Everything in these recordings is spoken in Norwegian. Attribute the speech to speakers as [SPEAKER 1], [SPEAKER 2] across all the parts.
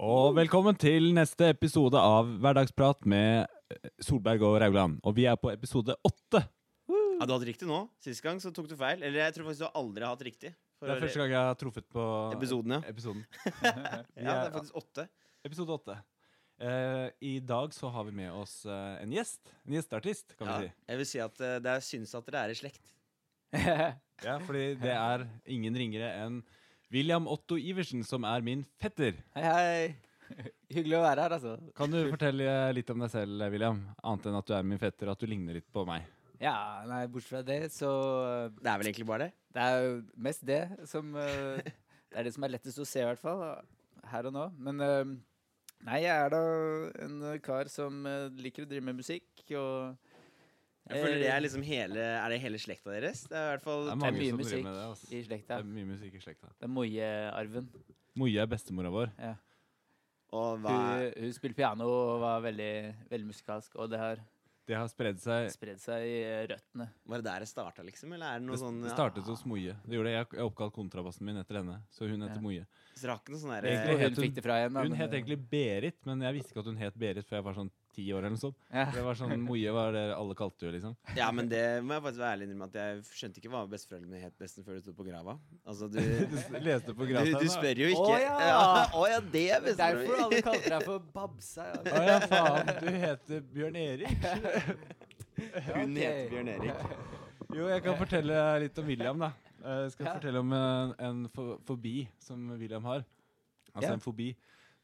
[SPEAKER 1] og velkommen til neste episode av Hverdagsprat med eh, Solberg og Raugland. Og vi er på episode åtte.
[SPEAKER 2] Ja, du hadde riktig nå. Sist gang så tok du feil. Eller jeg tror faktisk du aldri har hatt riktig. For
[SPEAKER 1] Det er første gang jeg har truffet på
[SPEAKER 2] Episoden, ja.
[SPEAKER 1] episoden. Vi
[SPEAKER 2] ja. Det
[SPEAKER 1] er-
[SPEAKER 2] er faktisk åtte.
[SPEAKER 1] Episode åtte. Eh, I dag så har vi med oss eh, en gjest. En gjesteartist, kan vi
[SPEAKER 2] Ja.
[SPEAKER 1] si.
[SPEAKER 2] Jeg vil si at eh, det er syns at dere er i slekt.
[SPEAKER 1] Ja, fordi det er ingen ringere enn William Otto Iversen, som er min fetter.
[SPEAKER 3] Hei, hei. Hyggelig å være her, altså.
[SPEAKER 1] Kan du fortelle eh, litt om deg selv, William? Annet enn at du er min fetter, og at du ligner litt på meg.
[SPEAKER 3] Ja, nei, bortsett fra det, så eh,
[SPEAKER 2] Det er vel egentlig bare det.
[SPEAKER 3] Det er jo mest det som eh, Det er det som er lettest å se, i hvert fall. Her og nå. Men eh, nei, jeg er da en eh, kar som eh, liker å drive med musikk, og
[SPEAKER 2] Jeg føler det er liksom hele Er det hele slekta deres? Det er i hvert fall
[SPEAKER 1] Det er
[SPEAKER 3] eh, det
[SPEAKER 1] mange
[SPEAKER 3] er mye
[SPEAKER 1] som driver
[SPEAKER 3] musikk
[SPEAKER 1] med det, altså.
[SPEAKER 3] i
[SPEAKER 1] Det
[SPEAKER 3] slekta.
[SPEAKER 1] er mye musikk i slekta.
[SPEAKER 3] Det er Moje-arven.
[SPEAKER 1] Moje er bestemora vår.
[SPEAKER 3] Ja.
[SPEAKER 2] Og hva
[SPEAKER 3] Hun, hun spilte piano og var veldig, veldig musikalsk, og det har
[SPEAKER 1] Det har spredd seg
[SPEAKER 3] spredd seg i eh, røttene.
[SPEAKER 2] Var det der det starta, liksom? Eller er det
[SPEAKER 1] Det
[SPEAKER 2] noe
[SPEAKER 1] s-
[SPEAKER 2] sånn
[SPEAKER 1] det startet hos Moje. Det gjorde det. Jeg jeg oppkalte kontrabassen min etter henne. Så hun heter
[SPEAKER 3] Ja.
[SPEAKER 1] Moje.
[SPEAKER 2] Så dere har ikke noe sånn
[SPEAKER 1] Det er egentlig
[SPEAKER 3] Og
[SPEAKER 2] derre
[SPEAKER 1] het
[SPEAKER 3] hun
[SPEAKER 1] hun-
[SPEAKER 3] fikk det fra igjen. eh,
[SPEAKER 1] Hun het egentlig Berit, men jeg visste ikke at hun het Berit før jeg var sånn ti år. eller noe sånt.
[SPEAKER 3] ja.
[SPEAKER 1] Det var sånn, Moje var det alle kalte henne, liksom.
[SPEAKER 2] Ja, men det må jeg faktisk være ærlig innrømme at jeg skjønte ikke hva besteforeldrene het nesten før du sto på grava. Altså, du
[SPEAKER 1] Du s- leste på
[SPEAKER 2] Du, du
[SPEAKER 1] Gratan, da.
[SPEAKER 2] spør jo ikke.
[SPEAKER 3] Å, ja.
[SPEAKER 2] Å ja, det er
[SPEAKER 3] Derfor
[SPEAKER 2] besteforeldrene.
[SPEAKER 3] alle kaller deg for Babsa.
[SPEAKER 1] Å ja, faen. Du heter Bjørn Erik.
[SPEAKER 2] Hun heter Bjørn Erik.
[SPEAKER 1] Jo, jeg kan fortelle litt om William, da. Eh, Jeg skal
[SPEAKER 3] Ja.
[SPEAKER 1] fortelle om en, en fo- fobi som William har. Altså
[SPEAKER 3] Ja.
[SPEAKER 1] en fobi.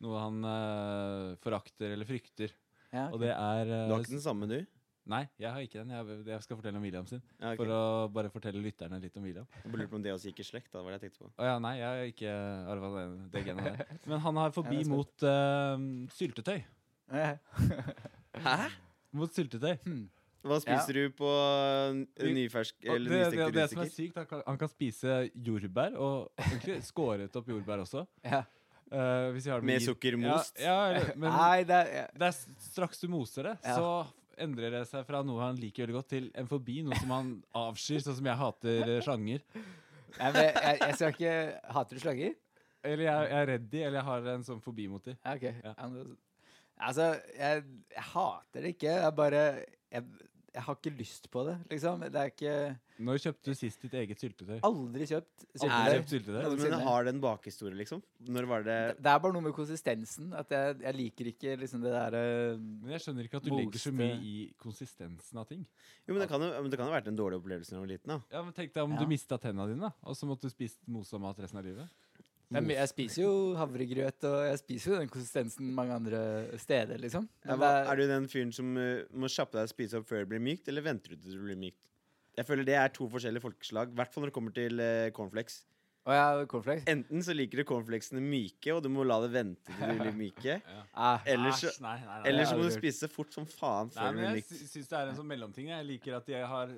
[SPEAKER 1] Noe han eh, forakter eller frykter.
[SPEAKER 3] Ja,
[SPEAKER 1] Og det er eh,
[SPEAKER 2] Du har ikke den samme, du?
[SPEAKER 1] Nei, jeg har ikke den. Jeg, jeg skal fortelle om William sin.
[SPEAKER 2] Ja, ok.
[SPEAKER 1] For å bare fortelle lytterne litt om William.
[SPEAKER 2] Jeg bare lurte på om det også gikk i slekt. da, var det jeg tenkte på.
[SPEAKER 1] Å ja, nei, jeg har ikke arva det, det genet der. Men han har forbi
[SPEAKER 3] Ja, det er
[SPEAKER 1] mot eh, syltetøy.
[SPEAKER 3] Eh,
[SPEAKER 2] Hæ?
[SPEAKER 1] Mot syltetøy.
[SPEAKER 3] Hm.
[SPEAKER 2] Hva spiser du på
[SPEAKER 1] Vi-
[SPEAKER 2] eh, nyfersk
[SPEAKER 1] Og
[SPEAKER 2] eller
[SPEAKER 1] det, det,
[SPEAKER 2] nystekte
[SPEAKER 1] det som er
[SPEAKER 2] rundstykker?
[SPEAKER 1] sykt, han kan, han kan spise jordbær, og egentlig skåret opp jordbær også.
[SPEAKER 3] ja.
[SPEAKER 1] Eh, hvis jeg har det
[SPEAKER 2] Med
[SPEAKER 1] is.
[SPEAKER 2] sukkermost?
[SPEAKER 1] Ja, ja, eller- men
[SPEAKER 3] Nei, det er ja.
[SPEAKER 1] det er s- straks du moser det,
[SPEAKER 3] Ja.
[SPEAKER 1] så endrer det seg fra noe han liker veldig godt, til en fobi, noe som han avskyr, sånn som jeg hater eh, sjanger.
[SPEAKER 3] Nei, men jeg, jeg skal ikke Hater du slanger?
[SPEAKER 1] Eller jeg, jeg er redd de, eller jeg har en sånn fobi mot de.
[SPEAKER 3] Ja, ok.
[SPEAKER 1] Ja.
[SPEAKER 3] Ja, men- Altså, jeg, jeg hater det ikke. Jeg bare jeg, jeg har ikke lyst på det, liksom. Det er ikke
[SPEAKER 1] Når kjøpte du sist ditt eget syltetøy?
[SPEAKER 3] Aldri kjøpt
[SPEAKER 2] Aldri
[SPEAKER 3] syltetøy.
[SPEAKER 1] kjøpt syltetøy?
[SPEAKER 2] Ja, Altså, men det har det en bakhistorie, liksom? Når var det
[SPEAKER 3] Det er bare noe med konsistensen. At jeg, jeg liker ikke liksom det derre
[SPEAKER 1] Men jeg skjønner ikke at du legger så
[SPEAKER 3] Moste.
[SPEAKER 1] mye i konsistensen av ting.
[SPEAKER 2] Jo, men det kan jo, men det kan jo ha vært en dårlig opplevelse da du var liten. da.
[SPEAKER 1] Ja, men Tenk deg om
[SPEAKER 3] Ja.
[SPEAKER 1] du mista tenna dine, da, og så måtte du spist mosa mat resten av livet.
[SPEAKER 3] jeg, jeg spiser jo havregrøt, og jeg spiser jo den konsistensen mange andre steder, liksom.
[SPEAKER 2] Ja,
[SPEAKER 3] Men
[SPEAKER 2] hva,
[SPEAKER 3] det
[SPEAKER 2] er du den fyren som eh, må kjappe deg å spise opp før det blir mykt, eller venter du til det blir mykt? Jeg føler det er to forskjellige folkeslag, i hvert fall når det kommer til eh, cornflakes.
[SPEAKER 3] Å ja, cornflakes?
[SPEAKER 2] Enten så liker du cornflakesene myke, og du må la det vente til de blir myke.
[SPEAKER 3] Ah,
[SPEAKER 2] Eller så,
[SPEAKER 1] Æsj, nei, nei, nei,
[SPEAKER 2] eller
[SPEAKER 1] det
[SPEAKER 2] så
[SPEAKER 1] har
[SPEAKER 2] må
[SPEAKER 1] jeg aldri gjort.
[SPEAKER 2] du spise fort som
[SPEAKER 1] Nei,
[SPEAKER 2] faen før det
[SPEAKER 1] men
[SPEAKER 2] blir
[SPEAKER 1] Jeg
[SPEAKER 2] mykt.
[SPEAKER 1] sy- syns det er en sånn mellomting. Jeg liker at jeg har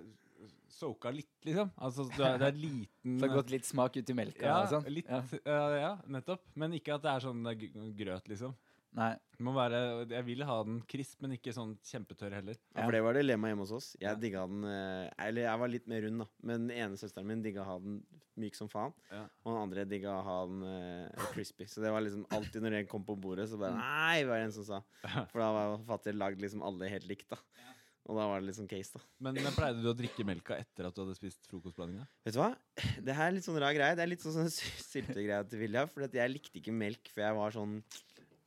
[SPEAKER 1] soaka litt, liksom. Altså, det er, det er liten eh,
[SPEAKER 3] så har det gått litt smak ut i melka
[SPEAKER 1] ja,
[SPEAKER 3] og sånn?
[SPEAKER 1] litt,
[SPEAKER 3] Ja.
[SPEAKER 1] ja. ja, nettopp. Men ikke at det er sånn eh, gr- grøt, liksom.
[SPEAKER 3] Nei.
[SPEAKER 1] Det må være, jeg vil ha den krisp, men ikke sånn kjempetørr heller.
[SPEAKER 2] Ja, for det var dilemmaet hjemme hos oss. Jeg digga den eh, Eller jeg var litt mer rund, da. Men den ene søsteren min digga å ha den myk som faen.
[SPEAKER 1] Ja.
[SPEAKER 2] Og den andre digga å ha den eh, crispy. Så det var liksom alltid når jeg kom på bordet, så bare Nei, var det en som sa. For da var fattig lagd liksom alle helt likt, da. Og da var det liksom case, da.
[SPEAKER 1] Men men pleide du å drikke melka etter at du hadde spist frokostblandinga?
[SPEAKER 2] Vet du hva? Det her er litt sånn rar greie. Det er litt sånn, sånn syltegreie til Vilja. For at jeg likte ikke melk før jeg var sånn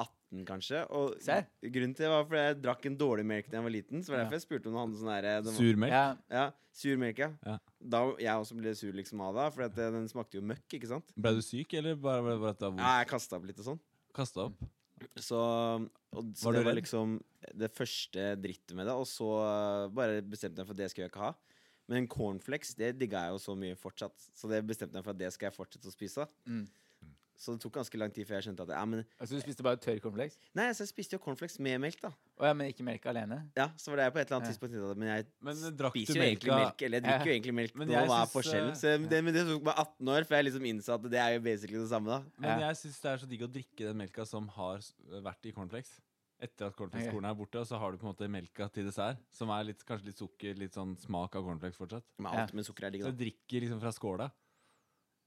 [SPEAKER 2] 18, kanskje. Og
[SPEAKER 3] Se.
[SPEAKER 2] grunnen til det var fordi jeg drakk en dårlig melk da jeg var liten. Så var det derfor jeg spurte om du hadde sånn derre den var-
[SPEAKER 1] Surmelk?
[SPEAKER 3] Ja,
[SPEAKER 2] Ja, sur melk, ja.
[SPEAKER 1] Ja.
[SPEAKER 2] Da jeg også ble sur liksom av det, for at eh, den smakte jo møkk, ikke sant?
[SPEAKER 1] Ble du syk, eller bare, bare, bare at det var vondt?
[SPEAKER 2] Ja, jeg kasta opp litt og sånn.
[SPEAKER 1] Kasta opp?
[SPEAKER 2] Så, og, så
[SPEAKER 1] Var
[SPEAKER 2] det
[SPEAKER 1] du
[SPEAKER 2] var
[SPEAKER 1] redd?
[SPEAKER 2] liksom det første drittet med det, og så eh, bare bestemte jeg for at det skal jeg ikke ha. Men cornflakes det digga jeg jo så mye fortsatt, så det bestemte jeg for at det skal jeg fortsette å spise.
[SPEAKER 3] Mm.
[SPEAKER 2] Så det tok ganske lang tid før jeg skjønte at ja, men,
[SPEAKER 3] altså du spiste bare tørr cornflakes?
[SPEAKER 2] Nei, så jeg spiste jo cornflakes med melk, da.
[SPEAKER 3] Å ja, men ikke melk alene?
[SPEAKER 2] Ja, så var det jeg på et eller annet
[SPEAKER 3] Ja.
[SPEAKER 2] tidspunkt tenkte at, Men jeg
[SPEAKER 1] Men eh, drakk du
[SPEAKER 2] spiser jo egentlig
[SPEAKER 1] melka
[SPEAKER 2] melk, eller jeg drikker jo
[SPEAKER 3] Ja.
[SPEAKER 2] egentlig melk
[SPEAKER 1] Men
[SPEAKER 2] nå,
[SPEAKER 1] jeg
[SPEAKER 2] hva er
[SPEAKER 1] synes,
[SPEAKER 2] forskjellen?
[SPEAKER 1] eh,
[SPEAKER 2] Så det, men det tok meg 18 år, for jeg liksom innså at det er jo basically det samme, da.
[SPEAKER 1] Men
[SPEAKER 3] Ja.
[SPEAKER 1] jeg syns det er så digg å drikke den melka som har s- vært i cornflakes. Etter at
[SPEAKER 3] Ok.
[SPEAKER 1] cornflakeskornet er borte, og så har du på en måte melka til dessert. Som er litt, kanskje litt sukker, litt sånn smak av cornflakes fortsatt.
[SPEAKER 2] Men
[SPEAKER 3] Ja.
[SPEAKER 2] alt med sukker er digg,
[SPEAKER 1] Så
[SPEAKER 2] da.
[SPEAKER 1] du drikker liksom fra skåla.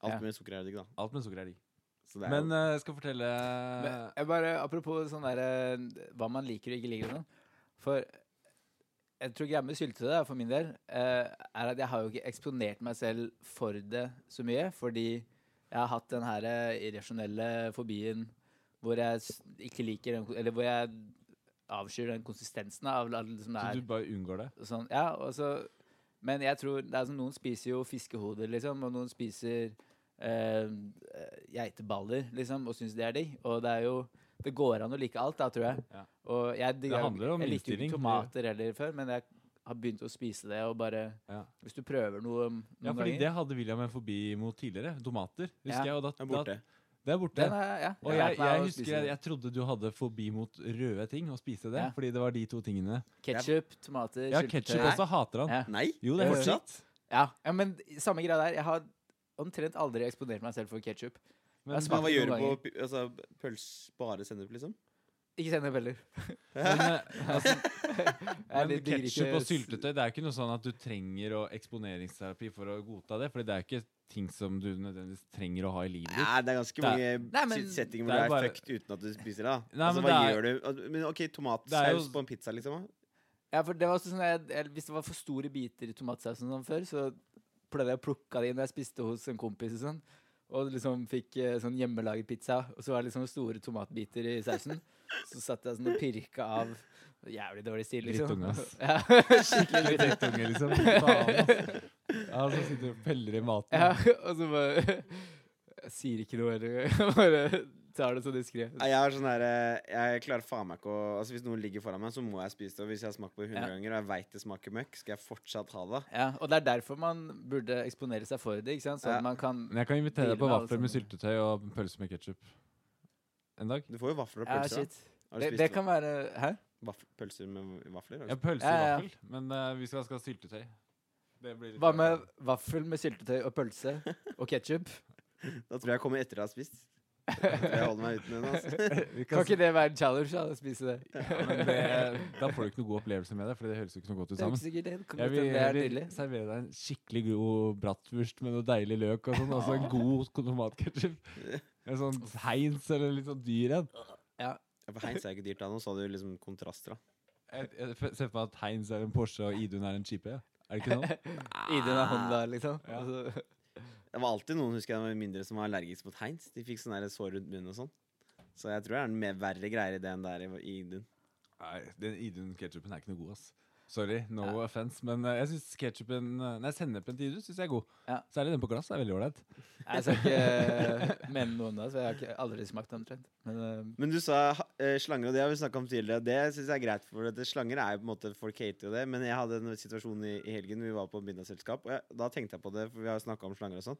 [SPEAKER 2] Alt
[SPEAKER 3] Ja.
[SPEAKER 2] med sukker er digg, da.
[SPEAKER 1] Alt med sukker er digg.
[SPEAKER 2] Så det er
[SPEAKER 1] Men
[SPEAKER 2] jo,
[SPEAKER 1] eh, jeg skal fortelle eh,
[SPEAKER 3] Men jeg bare, apropos sånn der, eh, hva man liker og ikke liker og sånn. For jeg tror greia med syltetøy da, for min del eh, er at jeg har jo ikke eksponert meg selv for det så mye. Fordi jeg har hatt den her eh, irrasjonelle fobien hvor jeg s- ikke liker den, ko- Eller hvor jeg avskyr den konsistensen av alt som det
[SPEAKER 1] Så
[SPEAKER 3] er.
[SPEAKER 1] du bare unngår det?
[SPEAKER 3] Og Sånn, ja, og så- men jeg tror det er sånn, Noen spiser jo fiskehoder, liksom, og noen spiser eh, eh, geiteballer, liksom, og syns det er digg. Og det er jo Det går an å like alt, da, tror jeg.
[SPEAKER 1] Ja.
[SPEAKER 3] Og jeg, digger-
[SPEAKER 1] handler om
[SPEAKER 3] jeg likte jo
[SPEAKER 1] innstilling.
[SPEAKER 3] ikke tomater heller før, men jeg har begynt å spise det, og bare
[SPEAKER 1] Ja.
[SPEAKER 3] Hvis du prøver noe um, noen
[SPEAKER 1] Ja, fordi
[SPEAKER 3] ganger
[SPEAKER 1] det hadde William en fobi mot tidligere. Tomater.
[SPEAKER 3] Ja.
[SPEAKER 1] husker jeg. Og da,
[SPEAKER 2] den er
[SPEAKER 1] da,
[SPEAKER 2] borte.
[SPEAKER 1] det er borte.
[SPEAKER 3] den har jeg- ja,
[SPEAKER 1] og
[SPEAKER 3] jeg har
[SPEAKER 1] jeg,
[SPEAKER 3] lært meg
[SPEAKER 1] jeg
[SPEAKER 3] å
[SPEAKER 1] husker
[SPEAKER 3] spise
[SPEAKER 1] jeg,
[SPEAKER 3] det.
[SPEAKER 1] jeg trodde du hadde fobi mot røde ting, å spise det.
[SPEAKER 3] Ja.
[SPEAKER 1] Fordi det var de to tingene.
[SPEAKER 3] Ketchup, tomater,
[SPEAKER 1] Ja,
[SPEAKER 3] syltetøy.
[SPEAKER 1] ketsjup også hater han.
[SPEAKER 3] Ja.
[SPEAKER 2] Nei?
[SPEAKER 1] Jo, det er helt
[SPEAKER 2] Fortsatt?
[SPEAKER 1] sykt.
[SPEAKER 3] Ja. ja, men samme greia der. Jeg har omtrent aldri eksponert meg selv for ketsjup.
[SPEAKER 1] Men,
[SPEAKER 3] Jeg
[SPEAKER 2] Men hva
[SPEAKER 3] Smakte
[SPEAKER 2] gjør du
[SPEAKER 3] noen
[SPEAKER 2] på pi- altså, pøls, bare sennep, liksom?
[SPEAKER 3] Ikke sennep heller.
[SPEAKER 1] men, eh, altså, men
[SPEAKER 3] Jeg digger ikke
[SPEAKER 1] ketsjup og
[SPEAKER 3] s-
[SPEAKER 1] syltetøy, det er jo ikke noe sånn at du trenger å eksponeringsterapi for å godta det. Fordi det er jo ikke ting som du nødvendigvis trenger å ha i livet ditt.
[SPEAKER 2] Nei, det er ganske mange
[SPEAKER 3] Nei, men
[SPEAKER 2] sit- settinger
[SPEAKER 1] det
[SPEAKER 2] hvor
[SPEAKER 1] er
[SPEAKER 2] du er
[SPEAKER 1] bare-
[SPEAKER 2] fucked uten at du spiser det. da.
[SPEAKER 1] Nei,
[SPEAKER 2] altså,
[SPEAKER 1] men
[SPEAKER 2] hva
[SPEAKER 1] det
[SPEAKER 2] gjør du? Al- Men OK,
[SPEAKER 1] Det er jo-
[SPEAKER 2] tomatsaus på en pizza, liksom? da?
[SPEAKER 3] Ja, for det var også sånn jeg, jeg, Hvis det var for store biter i tomatsausen sånn før, så pleide jeg å plukke av det inn. Jeg spiste hos en kompis og sånn. Og liksom fikk eh, sånn hjemmelaget pizza, og så var det liksom store tomatbiter i sausen. Så satt jeg sånn og pirka av. Jævlig dårlig stil, liksom.
[SPEAKER 1] Drittunge, ass.
[SPEAKER 3] Ja, skikkelig dritt.
[SPEAKER 1] Drittunge, liksom. Faen, ass. Ja, så sitter du og peller i maten.
[SPEAKER 3] Ja, og så bare Jeg sier ikke noe heller. Bare tar det så diskré.
[SPEAKER 2] Nei, Jeg har sånn her, eh, jeg klarer faen meg ikke å Altså Hvis noen ligger foran meg, så må jeg spise det. Og hvis jeg har smakt på det 100
[SPEAKER 3] Ja.
[SPEAKER 2] ganger, og jeg veit det smaker møkk, skal jeg fortsatt ha det.
[SPEAKER 3] Ja, og det er derfor man burde eksponere seg for det, ikke sant? Sånn
[SPEAKER 2] Ja.
[SPEAKER 3] at man kan
[SPEAKER 1] Men jeg kan invitere deg på
[SPEAKER 3] Dealen er alle
[SPEAKER 1] vafler med
[SPEAKER 3] sammen.
[SPEAKER 1] syltetøy og pølse med ketsjup. En dag?
[SPEAKER 2] Du får jo vafler og
[SPEAKER 3] Ja,
[SPEAKER 2] pølser. da.
[SPEAKER 3] shit.
[SPEAKER 2] Har du
[SPEAKER 3] Det,
[SPEAKER 2] spist
[SPEAKER 3] det kan være Hæ?
[SPEAKER 2] vaf- pølser med vafler? Har du
[SPEAKER 1] Ja, pølse i
[SPEAKER 3] Ja, ja.
[SPEAKER 1] vaffel. Men eh, vi skal, skal ha syltetøy. Det blir litt
[SPEAKER 3] Hva med vaffel med syltetøy og pølse og ketsjup?
[SPEAKER 2] spist- Da tror jeg jeg kommer etter jeg har spist. Jeg tror jeg holder meg uten den. Altså.
[SPEAKER 1] Vi
[SPEAKER 3] Kan
[SPEAKER 1] kan
[SPEAKER 3] ikke det være en challenge? Da, å spise det?
[SPEAKER 1] Ja, men det, da får du ikke noen god opplevelse med det, for det høres jo ikke noe godt ut
[SPEAKER 3] Det er jo
[SPEAKER 1] sammen.
[SPEAKER 3] ikke sikkert det. det Kan
[SPEAKER 1] Jeg
[SPEAKER 3] godt
[SPEAKER 1] vil,
[SPEAKER 3] hende det er
[SPEAKER 1] jeg vil
[SPEAKER 3] nydelig.
[SPEAKER 1] servere deg en skikkelig god bratwurst med noe deilig løk og sånn, og så en god tomatketsjup. En sånn Heinz eller litt sånn dyr en.
[SPEAKER 2] Ja, For Heinz er jo ikke dyrt da nå, så hadde du liksom kontraster. da
[SPEAKER 1] Jeg, jeg f- ser for meg at Heinz er en Porsche, og Idun er en Chipe. Er det ikke sånn?
[SPEAKER 3] Idun er Honda, liksom.
[SPEAKER 1] Ja.
[SPEAKER 3] Altså,
[SPEAKER 2] Det var alltid noen husker jeg, når jeg var mindre som var allergisk mot Heinz. De fikk sånn der sår rundt munnen og sånn. Så jeg tror det er en mer verre greier i det enn det er i, i Idun.
[SPEAKER 1] Nei, den Idun-ketsjupen er ikke noe god, ass. Sorry, no offense, men eh, jeg syns ketsjupen Nei, sennepen til Idun syns jeg er god.
[SPEAKER 3] Ja.
[SPEAKER 1] Særlig den på glass er veldig ålreit.
[SPEAKER 3] jeg skal ikke eh, mene noe om det, så jeg har ikke aldri smakt det omtrent. Men eh, øhm,
[SPEAKER 2] Men du sa ha- eh, slanger, og det har vi snakka om tidligere. og Det syns jeg er greit, for at slanger er jo på en måte folk hater jo det. Men jeg hadde en situasjon i, i helgen, vi var på middagsselskap, og jeg, da tenkte jeg på det, for vi har jo snakka om slanger og sånn,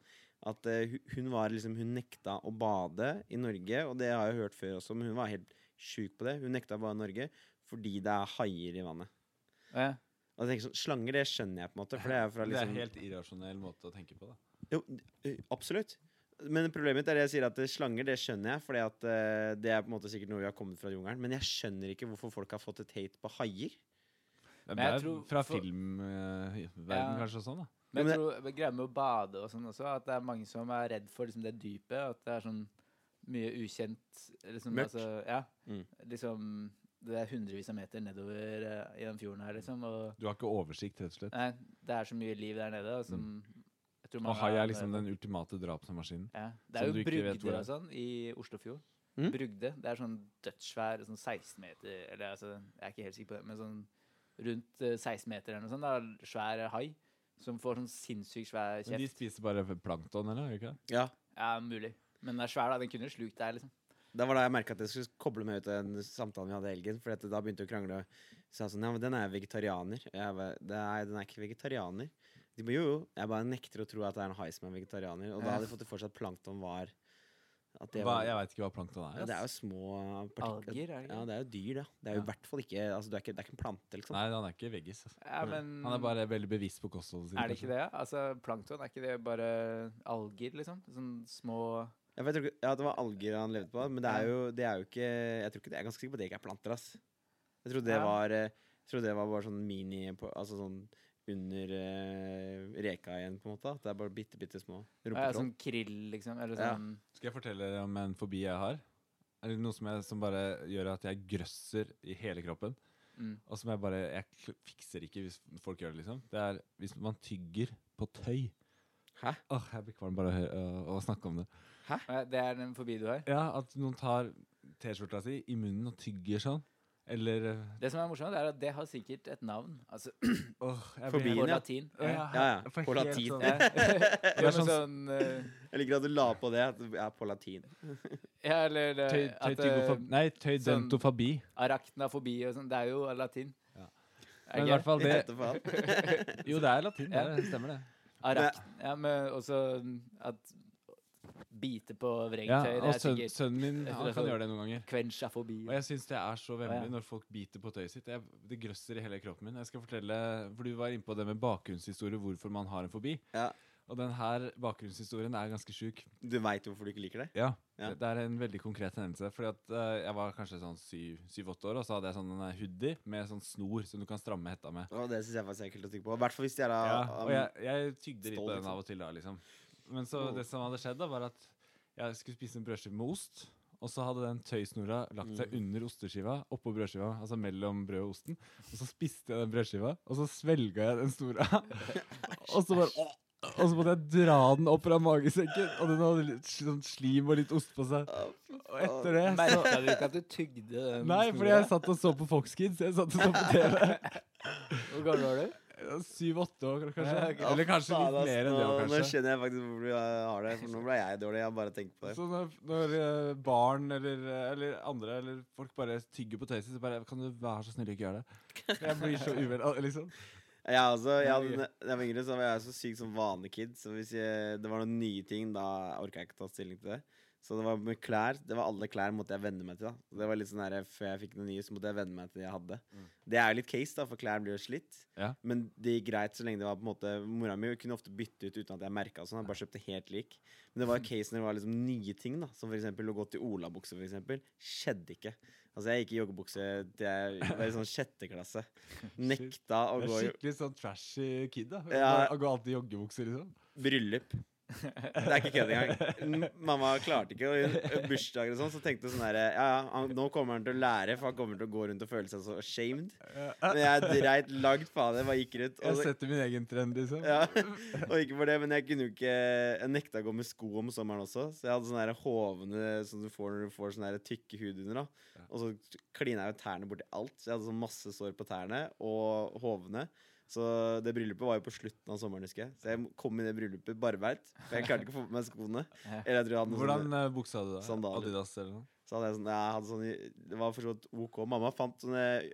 [SPEAKER 2] at eh, hu- hun var liksom Hun nekta å bade i Norge, og det har jeg hørt før også, men hun var helt sjuk på det. Hun nekta å bade i Norge fordi det er haier i vannet.
[SPEAKER 3] ja.
[SPEAKER 2] Og jeg tenker sånn, Slanger, det skjønner jeg på en måte, for det er jo fra
[SPEAKER 1] Det er
[SPEAKER 2] liksom
[SPEAKER 1] en helt irrasjonell måte å tenke på, da.
[SPEAKER 2] Jo, d- absolutt. Men problemet mitt er det jeg sier at eh, slanger, det skjønner jeg. Fordi at eh, det er på en måte sikkert noe vi har kommet fra jungelen. Men jeg skjønner ikke hvorfor folk har fått et hate på haier.
[SPEAKER 1] Det
[SPEAKER 3] Men jeg
[SPEAKER 1] er
[SPEAKER 3] tror
[SPEAKER 1] fra
[SPEAKER 3] for-
[SPEAKER 1] filmverden,
[SPEAKER 3] Ja.
[SPEAKER 1] kanskje, og sånn, da.
[SPEAKER 3] Men jeg
[SPEAKER 2] Jo,
[SPEAKER 3] tror greia med å bade og sånn også, at det er mange som er redd for liksom, det dypet. At det er sånn mye ukjent liksom,
[SPEAKER 2] Mørkt.
[SPEAKER 3] Altså, ja.
[SPEAKER 2] Mm.
[SPEAKER 3] Liksom Det er hundrevis av meter nedover eh, i den fjorden her, liksom. Og
[SPEAKER 1] Du har ikke oversikt, rett og slett.
[SPEAKER 3] Nei, det er så mye liv der nede. Og som, jeg tror
[SPEAKER 1] Mm. Og
[SPEAKER 3] mange
[SPEAKER 1] hai
[SPEAKER 3] har-
[SPEAKER 1] er liksom den ultimate drapsmaskinen.
[SPEAKER 3] ja. Det
[SPEAKER 1] som
[SPEAKER 3] er
[SPEAKER 1] du
[SPEAKER 3] jo
[SPEAKER 1] ikke vet hvor
[SPEAKER 3] brugder
[SPEAKER 1] er.
[SPEAKER 3] og sånn i Oslofjorden.
[SPEAKER 2] Mm?
[SPEAKER 3] Brugde. Det er sånn dødssvær, sånn 16 meter Eller altså, jeg er ikke helt sikker på det, men sånn rundt eh, 16 meter eller noe sånt. Da, svær hai som får sånn sinnssykt svær
[SPEAKER 1] Men de
[SPEAKER 3] kjeft.
[SPEAKER 1] spiser bare plankton, eller? Gjør de ikke det?
[SPEAKER 2] Ja.
[SPEAKER 3] Ja, mulig. Men den er svær, da. Den kunne slukt deg, liksom.
[SPEAKER 2] Da var da jeg merka at jeg skulle koble meg ut av den samtalen vi hadde i helgen. For at da begynte jeg å krangle. Så jeg sa sånn Ja, men den er vegetarianer. Og jeg bare, Nei, den er ikke vegetarianer. De bare jo, jo. Jeg bare nekter å tro at det er en hai som er vegetarianer. Og
[SPEAKER 3] Ja.
[SPEAKER 2] da hadde de fått det for seg at plankton var at det
[SPEAKER 1] Hva,
[SPEAKER 2] var
[SPEAKER 1] jeg veit ikke hva plankton er.
[SPEAKER 2] ja, Det er
[SPEAKER 1] ass.
[SPEAKER 2] jo små partikler.
[SPEAKER 3] Alger, er det
[SPEAKER 2] Ja,
[SPEAKER 3] ikke?
[SPEAKER 2] det er jo dyr, da. Det er jo i
[SPEAKER 1] Ja.
[SPEAKER 2] hvert fall ikke Altså, det er ikke, det er ikke en plante, liksom.
[SPEAKER 1] Nei, han er ikke veggis. ass.
[SPEAKER 3] Ja, men
[SPEAKER 2] Mm.
[SPEAKER 1] Han er bare veldig bevisst på kostholdet sitt.
[SPEAKER 3] Er det ikke det? Altså, plankton, er ikke det bare alger, liksom? Sånn små
[SPEAKER 2] Ja, for jeg tror ikke, ja, det var alger han levde på, men det er jo, det er jo ikke Jeg tror ikke det, jeg er ganske sikker på at det ikke er planter, ass. Jeg trodde det
[SPEAKER 3] Ja.
[SPEAKER 2] var eh, Jeg trodde det var bare sånn mini på- Altså sånn under eh, reka igjen, på en måte. At det er bare bitte, bitte små
[SPEAKER 3] Ja,
[SPEAKER 2] rumpetråd.
[SPEAKER 3] sånn krill, liksom. Eller
[SPEAKER 2] Ja.
[SPEAKER 3] sånn
[SPEAKER 1] Skal jeg fortelle dere om en fobi jeg har? Eller noe som, jeg, som bare gjør at jeg grøsser i hele kroppen.
[SPEAKER 3] mm.
[SPEAKER 1] Og som jeg bare Jeg kl- fikser ikke hvis folk gjør det, liksom. Det er hvis man tygger på tøy.
[SPEAKER 2] Hæ?
[SPEAKER 1] Åh, jeg blir kvalm bare av å hø- å- å snakke om det.
[SPEAKER 3] Ja, Det er den fobi du har?
[SPEAKER 1] Ja, At noen tar T-skjorta si i munnen og tygger sånn. Eller eh,
[SPEAKER 3] Det som er morsomt, er at det har sikkert et navn. Altså
[SPEAKER 1] åh, jeg blir-
[SPEAKER 2] Fobi.
[SPEAKER 3] på
[SPEAKER 2] Vin, ja.
[SPEAKER 3] latin.
[SPEAKER 1] Åh, jeg-
[SPEAKER 2] Ja, ja,
[SPEAKER 1] jeg får
[SPEAKER 2] på
[SPEAKER 1] helt
[SPEAKER 2] latin.
[SPEAKER 1] sånn-
[SPEAKER 3] Ja.
[SPEAKER 1] er
[SPEAKER 3] Ja, men
[SPEAKER 1] sånn-
[SPEAKER 3] sånn eh,
[SPEAKER 2] Jeg liker at du la på det. At det er på latin.
[SPEAKER 3] Ja, eller eh,
[SPEAKER 1] Tøy, tøy,
[SPEAKER 3] at
[SPEAKER 1] tygofo-
[SPEAKER 3] eh,
[SPEAKER 1] nei, tøy
[SPEAKER 3] sånn-
[SPEAKER 1] dentofobi.
[SPEAKER 3] araknafobi og sånn. Det er jo latin.
[SPEAKER 1] Ja.
[SPEAKER 3] Er
[SPEAKER 1] Men i
[SPEAKER 3] ikke
[SPEAKER 1] hvert fall det
[SPEAKER 2] Jeg vet da faen.
[SPEAKER 1] Jo, det er latin. Det
[SPEAKER 3] Ja.
[SPEAKER 1] er- stemmer, det.
[SPEAKER 3] Arakt, ja, men også mm, at bite på
[SPEAKER 1] Ja,
[SPEAKER 3] vrengtøy.
[SPEAKER 1] og
[SPEAKER 3] det er
[SPEAKER 1] søn,
[SPEAKER 3] sikkert
[SPEAKER 1] sønnen min
[SPEAKER 3] Jeg
[SPEAKER 1] han
[SPEAKER 3] tror det
[SPEAKER 1] kan
[SPEAKER 3] er sånn-
[SPEAKER 1] gjøre det noen ganger.
[SPEAKER 3] kvensjafobi.
[SPEAKER 1] Og jeg syns det er så vemmelig
[SPEAKER 3] ja.
[SPEAKER 1] når folk biter på tøyet sitt. Jeg, det grøsser i hele kroppen min. Jeg skal fortelle, for Du var inne på det med bakgrunnshistorie, hvorfor man har en fobi.
[SPEAKER 2] Ja.
[SPEAKER 1] Og den her bakgrunnshistorien er ganske sjuk.
[SPEAKER 2] Du veit hvorfor du ikke liker det?
[SPEAKER 1] Ja.
[SPEAKER 2] Ja.
[SPEAKER 1] Det, det er en veldig konkret hendelse. Fordi at eh, Jeg var kanskje sånn syv-åtte år, og så hadde jeg sånn en hoodie med sånn snor som du kan stramme hetta med.
[SPEAKER 2] Å, det syns jeg faktisk er kult å tenke på. I hvert fall hvis de er um, av
[SPEAKER 1] Ja,
[SPEAKER 2] av-
[SPEAKER 1] og jeg, jeg tygde litt
[SPEAKER 2] stål,
[SPEAKER 1] på den
[SPEAKER 2] liksom.
[SPEAKER 1] av og til da, liksom. Men så
[SPEAKER 2] Mm.
[SPEAKER 1] det som hadde skjedd, da, var at jeg skulle spise en brødskive med ost. Og så hadde den tøysnora lagt
[SPEAKER 2] Mm.
[SPEAKER 1] seg under osteskiva, oppå brødskiva, altså mellom brødet og osten. Og så spiste jeg den brødskiva, og så svelga jeg den snora. og så bare Og så måtte jeg dra den opp fra magesekken, og den hadde litt sl- sånn slim og litt ost på seg.
[SPEAKER 2] Å, fy
[SPEAKER 1] Og
[SPEAKER 2] faen.
[SPEAKER 1] etter det så
[SPEAKER 3] Merka du ikke at du tygde den?
[SPEAKER 1] Nei, fordi jeg satt og så på Fox Kids. Jeg satt og så på TV.
[SPEAKER 3] Hvor gammel var du?
[SPEAKER 1] Syv-åtte år,
[SPEAKER 3] Ja,
[SPEAKER 1] kanskje.
[SPEAKER 3] ok.
[SPEAKER 1] Eller kanskje
[SPEAKER 2] Faen,
[SPEAKER 1] litt
[SPEAKER 2] ass,
[SPEAKER 1] mer enn det.
[SPEAKER 2] nå-
[SPEAKER 1] også,
[SPEAKER 2] Nå
[SPEAKER 1] kanskje.
[SPEAKER 2] skjønner jeg faktisk hvorfor du eh, har det. For nå ble jeg dårlig. Jeg bare tenkte på det.
[SPEAKER 1] Så når, når eh, barn eller, eh, eller andre eller folk bare tygger på tøyset, så bare Kan du være så snill å ikke gjøre det? For Jeg blir så uvel, al- liksom.
[SPEAKER 2] Jeg, altså, jeg, hadde,
[SPEAKER 1] Nei,
[SPEAKER 2] da jeg var yngre, så var jeg så syk som vanlig kid. Så hvis jeg, det var noen nye ting, da orka jeg ikke ta stilling til det. Så det var med klær. Det var alle klær måtte jeg venne meg til. da Det var litt sånn her, Før jeg fikk noen nye, så måtte jeg venne meg til det jeg hadde. Det er jo litt case, da, for klær blir jo slitt.
[SPEAKER 1] Mm. Ja.
[SPEAKER 2] Men det gikk greit så lenge det var på en måte Mora mi kunne ofte bytte ut uten at jeg merka sånn. Jeg bare kjøpte helt lik. Men det var case når det var liksom nye ting, da. Som for eksempel å gå til olabukse, for eksempel. Skjedde ikke. Altså, jeg gikk i joggebukse til jeg var i sånn sjette klasse. Nekta å
[SPEAKER 1] Jeg er
[SPEAKER 2] gå i
[SPEAKER 1] skikkelig sånn trashy kid. da
[SPEAKER 2] Ja.
[SPEAKER 1] Å gå alltid i joggebukser, liksom.
[SPEAKER 2] Bryllup. Det er ikke kødd engang. M- Mamma klarte ikke å bursdager og sånn, så tenkte hun sånn her Ja, ja, han- nå kommer han til å lære, for han kommer til å gå rundt og føle seg så ashamed. Men jeg dreit langt faen jeg bare gikk rundt.
[SPEAKER 1] Jeg
[SPEAKER 2] Og, så-
[SPEAKER 1] setter min egen trend, liksom.
[SPEAKER 2] ja, og ikke for det, men jeg kunne jo ikke Jeg nekta å gå med sko om sommeren også, så jeg hadde sånne her hovne som du får når du får sånne her tykke hud under, da. Og så klina jeg jo tærne borti alt, så jeg hadde sånn masse sår på tærne og hovne. Så det bryllupet var jo på slutten av sommeren, husker jeg. Så jeg kom i det bryllupet barbeint, for jeg klarte ikke å få på meg skoene. Eller jeg tror jeg hadde noe sånn-
[SPEAKER 1] Hvordan eh, bukse hadde du? da?
[SPEAKER 2] Sandaler.
[SPEAKER 1] Adidas eller noe?
[SPEAKER 2] så hadde jeg sånn, jeg hadde sånn Det var for så vidt OK. Mamma fant sånne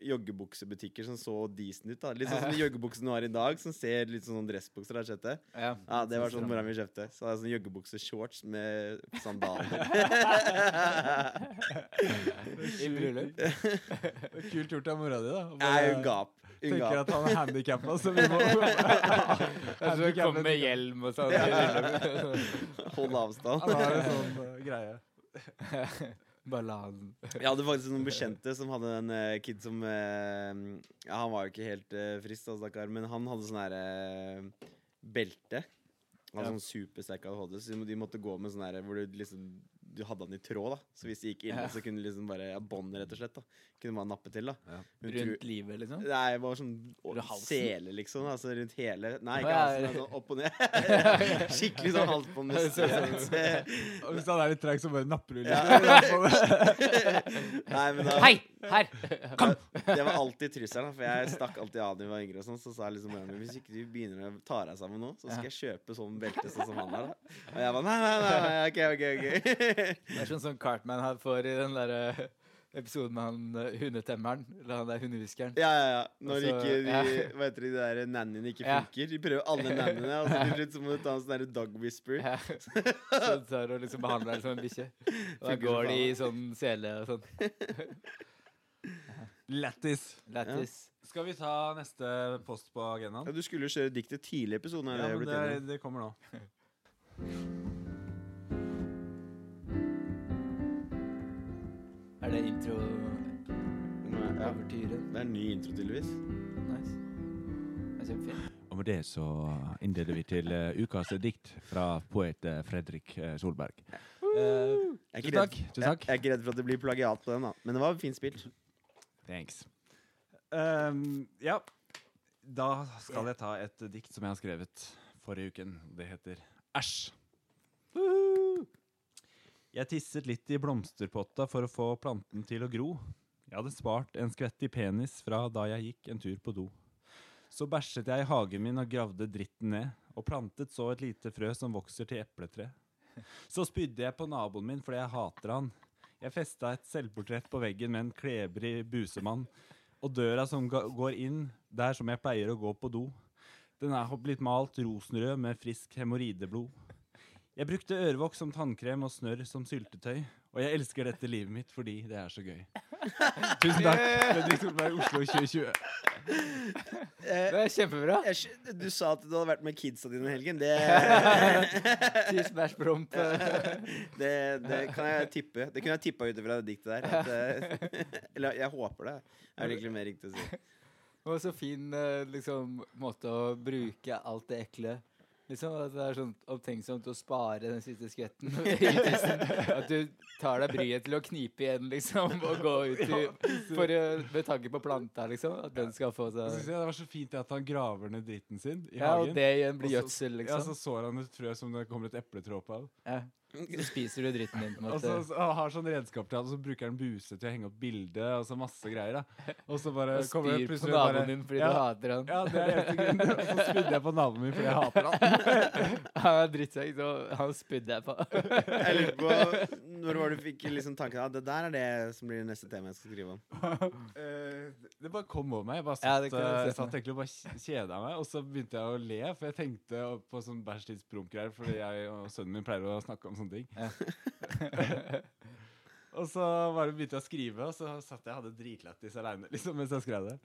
[SPEAKER 2] joggebuksebutikker som så decent ut. da Litt sånn som de joggebuksene du har i dag, som ser litt sånn dressbukser. Har du sett det?
[SPEAKER 3] Ja.
[SPEAKER 2] Ja, det var sånn mora mi kjøpte. Så hadde jeg sånn joggebukseshorts med sandaler.
[SPEAKER 3] I bryllup.
[SPEAKER 1] Det er Kult gjort av mora di, da. å
[SPEAKER 2] Jeg
[SPEAKER 1] bare
[SPEAKER 2] er jo gap. Hun
[SPEAKER 1] Tenker
[SPEAKER 2] gap.
[SPEAKER 1] at han er handikappa, så vi må
[SPEAKER 3] Altså,
[SPEAKER 1] Handicap-
[SPEAKER 3] komme med hjelm og sånn. i bryllup.
[SPEAKER 2] Hold avstand.
[SPEAKER 1] Han har en sånn eh, greie.
[SPEAKER 3] Balladen.
[SPEAKER 2] Jeg hadde faktisk noen bekjente som hadde en eh, kid som eh, ja, Han var jo ikke helt eh, frisk, da, stakkar, men han hadde sånn her eh, belte. Han hadde
[SPEAKER 3] Ja.
[SPEAKER 2] sånn supersterk ADHD, så de må- de måtte gå med sånn her hvor du liksom du hadde han i tråd, da. Så hvis det gikk ille,
[SPEAKER 3] Ja.
[SPEAKER 2] så kunne du liksom bare ja, bånd, rett og slett. da Kunne man nappe til, da.
[SPEAKER 1] Ja.
[SPEAKER 2] Hun tru-
[SPEAKER 3] Rundt livet, liksom.
[SPEAKER 2] Nei, det var sånn å,
[SPEAKER 3] Rundt halsen?
[SPEAKER 2] sele, liksom. Altså rundt hele Nei,
[SPEAKER 3] Å,
[SPEAKER 2] ikke
[SPEAKER 3] ja.
[SPEAKER 2] halsen, men sånn opp og ned. Skikkelig sånn
[SPEAKER 3] Så-
[SPEAKER 2] halsbåndmusikk.
[SPEAKER 1] Og hvis han er litt treig, så bare napper du litt.
[SPEAKER 2] Nei, men da
[SPEAKER 3] Hei! Her!
[SPEAKER 2] Det var alltid trusselen, da, for jeg stakk alltid av da jeg var yngre. og sånn, Så sa jeg liksom mora mi hvis ikke du begynner å ta deg sammen nå, så skal jeg kjøpe sånn belte sånn som han har. da. Og jeg bare nei, nei, nei, nei, ok, ok, ok.
[SPEAKER 3] Det er sånn som Cartman han får i den der eh, episoden med han eh, hundetemmeren. Eller han der hundehuskeren.
[SPEAKER 2] Ja, ja, ja. Når
[SPEAKER 3] Altså,
[SPEAKER 2] ikke de,
[SPEAKER 3] ja.
[SPEAKER 2] hva heter de der nannyene ikke
[SPEAKER 3] Ja.
[SPEAKER 2] funker. De prøver alle nannyene, og så til slutt så må du ta en sånn derre dog whisper.
[SPEAKER 3] Ja. Så du tar og liksom behandler deg som en bikkje. Og
[SPEAKER 2] Funker
[SPEAKER 3] da
[SPEAKER 2] som
[SPEAKER 3] går
[SPEAKER 2] faen.
[SPEAKER 3] de i sånn sele og sånn.
[SPEAKER 1] Lættis.
[SPEAKER 3] Lættis.
[SPEAKER 1] Skal vi ta neste post på agendaen?
[SPEAKER 2] Ja, du skulle jo kjøre diktet tidlig i episoden.
[SPEAKER 1] Ja,
[SPEAKER 2] er det jeg
[SPEAKER 1] men
[SPEAKER 2] blitt
[SPEAKER 1] det,
[SPEAKER 2] enig om?
[SPEAKER 1] det kommer nå.
[SPEAKER 3] Er det intro
[SPEAKER 2] Nå er- ja.
[SPEAKER 3] overtyren?
[SPEAKER 2] Det er en ny intro, tydeligvis.
[SPEAKER 3] Nice. Jeg Kjempefint.
[SPEAKER 1] Og med det så innleder vi til eh, ukas dikt fra poet eh, Fredrik eh, Solberg. Eh,
[SPEAKER 2] Jeg er
[SPEAKER 1] tusen
[SPEAKER 2] ikke
[SPEAKER 1] takk.
[SPEAKER 2] redd,
[SPEAKER 1] Tusen takk.
[SPEAKER 2] Jeg, jeg er ikke redd for at det blir plagiat på den, da. Men det var fint spilt.
[SPEAKER 1] Thanks. Ehm, ja, da skal jeg ta et dikt som jeg har skrevet forrige uken. Det heter Æsj. Jeg tisset litt i blomsterpotta for å få planten til å gro. Jeg hadde spart en skvett i penis fra da jeg gikk en tur på do. Så bæsjet jeg i hagen min og gravde dritten ned, og plantet så et lite frø som vokser til epletre. Så spydde jeg på naboen min fordi jeg hater han. Jeg festa et selvportrett på veggen med en klebrig busemann. Og døra som ga- går inn der som jeg pleier å gå på do. Den er hopp- blitt malt rosenrød med frisk hemoroideblod. Jeg brukte ørevoks som tannkrem og snørr som syltetøy. Og jeg elsker dette livet mitt fordi det er så gøy. Tusen takk. Fredrik Solberg, Oslo 2020.
[SPEAKER 3] Det er kjempebra.
[SPEAKER 2] Eh, Jeg, skj- du sa at du hadde vært med kidsa dine i helgen. Det,
[SPEAKER 3] Til Smash Promp.
[SPEAKER 2] det, det kan jeg tippe. Det kunne jeg tippa ut ifra det diktet der. At, eh, eller jeg håper det. er vel egentlig mer riktig å si.
[SPEAKER 3] Og så fin eh, liksom, måte å bruke alt det ekle Liksom at Det er sånn opptenksomt å spare den siste skvetten. i tissen. At du tar deg bryet til å knipe igjen, liksom, og gå ut i, for å, med tanke på planta, liksom. At den skal få
[SPEAKER 1] Så synes
[SPEAKER 3] seg
[SPEAKER 1] jeg det var så fint det at han graver ned dritten sin i
[SPEAKER 3] Ja, og
[SPEAKER 1] hagen.
[SPEAKER 3] det igjen blir
[SPEAKER 1] Og så-
[SPEAKER 3] gjødsel,
[SPEAKER 1] Ja, så
[SPEAKER 3] liksom.
[SPEAKER 1] sår han et frø som det kommer et epletråpe av.
[SPEAKER 3] Ja, så spiser du dritten din, på en
[SPEAKER 1] Og
[SPEAKER 3] måte.
[SPEAKER 1] så, så han har sånn redskap til han, og så bruker han buse til å henge opp bilde og så masse greier. da. Og så bare
[SPEAKER 3] Og
[SPEAKER 1] kommer det
[SPEAKER 3] spyr på
[SPEAKER 1] plutselig bare-
[SPEAKER 3] naboen din fordi
[SPEAKER 1] ja,
[SPEAKER 3] du hater han.
[SPEAKER 1] Ja, det er eneste grunnen. Og så spydde jeg på naboen min fordi jeg hater han.
[SPEAKER 3] Han er drittsekk, så han spydde jeg på.
[SPEAKER 2] Jeg lurer på Når var det du fikk liksom tanken at det der er det som blir neste tema jeg skal skrive om?
[SPEAKER 1] Eh, det bare kom over meg. Jeg bare
[SPEAKER 3] Ja,
[SPEAKER 1] satt,
[SPEAKER 3] det kan jeg
[SPEAKER 1] eh,
[SPEAKER 3] se for
[SPEAKER 1] satt egentlig og bare kjeda meg, og så begynte jeg å le, for jeg tenkte på sånn bæsjtidspromp-greier, fordi jeg og sønnen min pleier å snakke om sånne ting. og så bare begynte jeg å skrive, og så satt jeg og hadde dritlættis aleine liksom, mens jeg skrev det.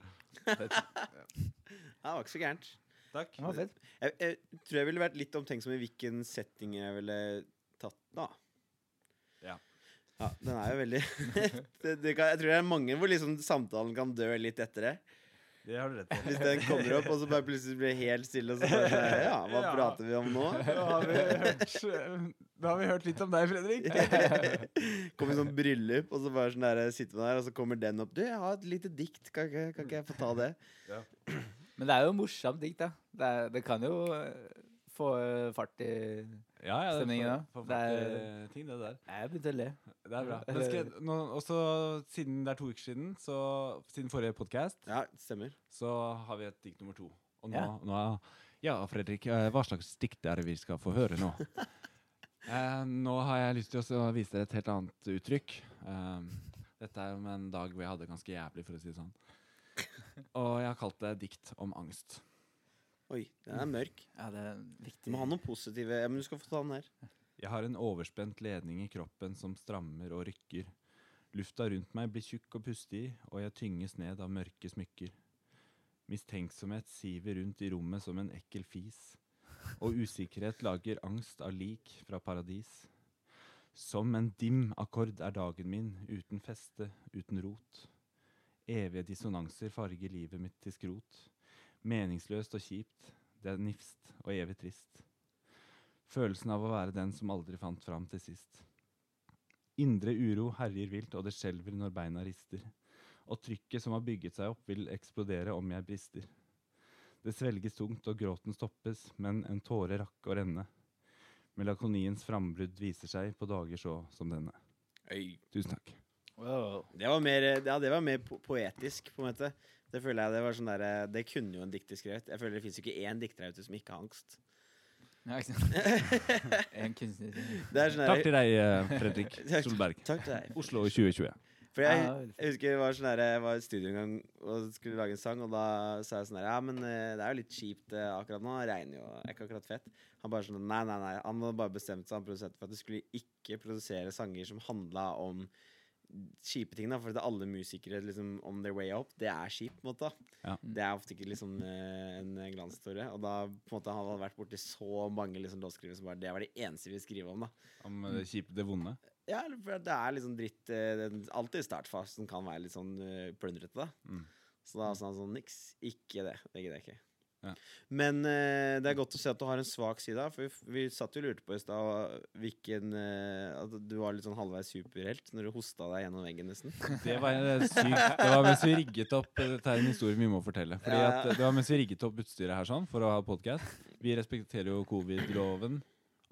[SPEAKER 2] Ja, det var ikke så gærent.
[SPEAKER 1] Takk.
[SPEAKER 3] Det var fett.
[SPEAKER 2] Jeg, jeg tror jeg ville vært litt omtenksom i hvilken setting jeg ville tatt den, da.
[SPEAKER 1] Ja.
[SPEAKER 2] Ja, den er jo veldig det, det kan, Jeg tror det er mange hvor liksom samtalen kan dø litt etter det.
[SPEAKER 1] Det har du rett i.
[SPEAKER 2] Hvis den kommer opp, og så bare plutselig blir det helt stille, og så bare sånn, Ja, hva
[SPEAKER 1] Ja.
[SPEAKER 2] prater vi om nå?
[SPEAKER 1] Da har vi hørt, eh, da har vi hørt litt om deg, Fredrik.
[SPEAKER 2] Kommer sånn bryllup, og så bare sånn der, sitter man der, og så kommer den opp. Du, jeg har et lite dikt, kan ikke, kan ikke jeg få ta det?
[SPEAKER 3] Men det er jo morsomt dikt, da. Det, er, det kan jo eh, få eh, fart i
[SPEAKER 1] Ja, ja, det
[SPEAKER 3] Stemningen,
[SPEAKER 1] er
[SPEAKER 3] ja.
[SPEAKER 1] for, for,
[SPEAKER 3] Det
[SPEAKER 1] eh, ting, det der.
[SPEAKER 3] Nei, Jeg begynte å le.
[SPEAKER 1] Det er bra. Men skal jeg, nå, også siden det er to uker siden, så siden forrige podkast,
[SPEAKER 2] Ja, stemmer.
[SPEAKER 1] så har vi et dikt nummer to. Og nå,
[SPEAKER 3] Ja.
[SPEAKER 1] nå Ja, Fredrik, eh, hva slags dikt er det vi skal få høre nå? Eh, nå har jeg lyst til å så vise dere et helt annet uttrykk. Eh, dette er om en dag hvor jeg hadde det ganske jævlig, for å si det sånn. Og jeg har kalt det dikt om angst.
[SPEAKER 2] Oi, den er mørk.
[SPEAKER 3] Ja, det er
[SPEAKER 2] Du
[SPEAKER 3] viktig.
[SPEAKER 2] må ha noe positive ja, Men du skal få ta den her.
[SPEAKER 1] Jeg har en overspent ledning i kroppen som strammer og rykker. Lufta rundt meg blir tjukk og pustig, og jeg tynges ned av mørke smykker. Mistenksomhet siver rundt i rommet som en ekkel fis, og usikkerhet lager angst av lik fra paradis. Som en dim akkord er dagen min, uten feste, uten rot. Evige dissonanser farger livet mitt til skrot. Meningsløst og kjipt, det er nifst og evig trist. Følelsen av å være den som aldri fant fram til sist. Indre uro herjer vilt, og det skjelver når beina rister. Og trykket som har bygget seg opp, vil eksplodere om jeg brister. Det svelges tungt, og gråten stoppes, men en tåre rakk å renne. Melankoliens frambrudd viser seg på dager så som denne. Tusen takk.
[SPEAKER 3] Wow.
[SPEAKER 2] Det var mer, ja, det var mer po poetisk, på en måte. Det føler jeg det var sånn der, eh, det kunne jo en dikter skrevet. Jeg føler det fins ikke én dikter der ute som ikke har angst.
[SPEAKER 3] Ja, ikke sant? En kunstner. til.
[SPEAKER 2] Det er sånn
[SPEAKER 1] Takk
[SPEAKER 2] der,
[SPEAKER 1] til deg, eh, Fredrik
[SPEAKER 2] Takk-
[SPEAKER 1] Solberg.
[SPEAKER 2] takk til deg.
[SPEAKER 1] Oslo 2020.
[SPEAKER 2] For jeg,
[SPEAKER 3] Ja, veldig fint.
[SPEAKER 2] jeg husker jeg var, sånn der, jeg var i studio en gang og skulle lage en sang, og da sa jeg sånn her Ja, men eh, det er jo litt kjipt eh, akkurat nå. Det regner jo. Det er ikke akkurat fett. Han bare sånn Nei, nei, nei. Han hadde bare bestemt seg, han produsenten, for at du skulle ikke produsere sanger som handla om kjipe ting, da. For at alle musikere liksom on their way up, det er kjipt, på en måte. da.
[SPEAKER 1] Ja.
[SPEAKER 2] Det er ofte ikke liksom eh, en glanståre. Og da på en måte han hadde vært borti så mange liksom låtskrivere som bare Det var det eneste vi ville skrive om, da.
[SPEAKER 1] Om eh, det kjipe, det vonde.
[SPEAKER 2] Ja, eller for det er liksom dritt eh, den, Alltid startfasen kan være litt sånn eh, plundrete, da.
[SPEAKER 1] Mm.
[SPEAKER 2] Så da sa han sånn Niks, ikke det. Det gidder jeg ikke.
[SPEAKER 1] Ja.
[SPEAKER 2] Men eh, det er godt å se at du har en svak side. da, For vi, f- vi satt jo og lurte på i stad hvilken eh, At du var litt sånn halvveis superhelt når du hosta deg gjennom veggen, nesten.
[SPEAKER 1] Det var eh, sykt. Det var mens vi rigget opp eh, Dette er en historie vi må fortelle. Fordi
[SPEAKER 2] Ja, ja.
[SPEAKER 1] at eh, Det var mens vi rigget opp utstyret her sånn for å ha podkast. Vi respekterer jo covid-loven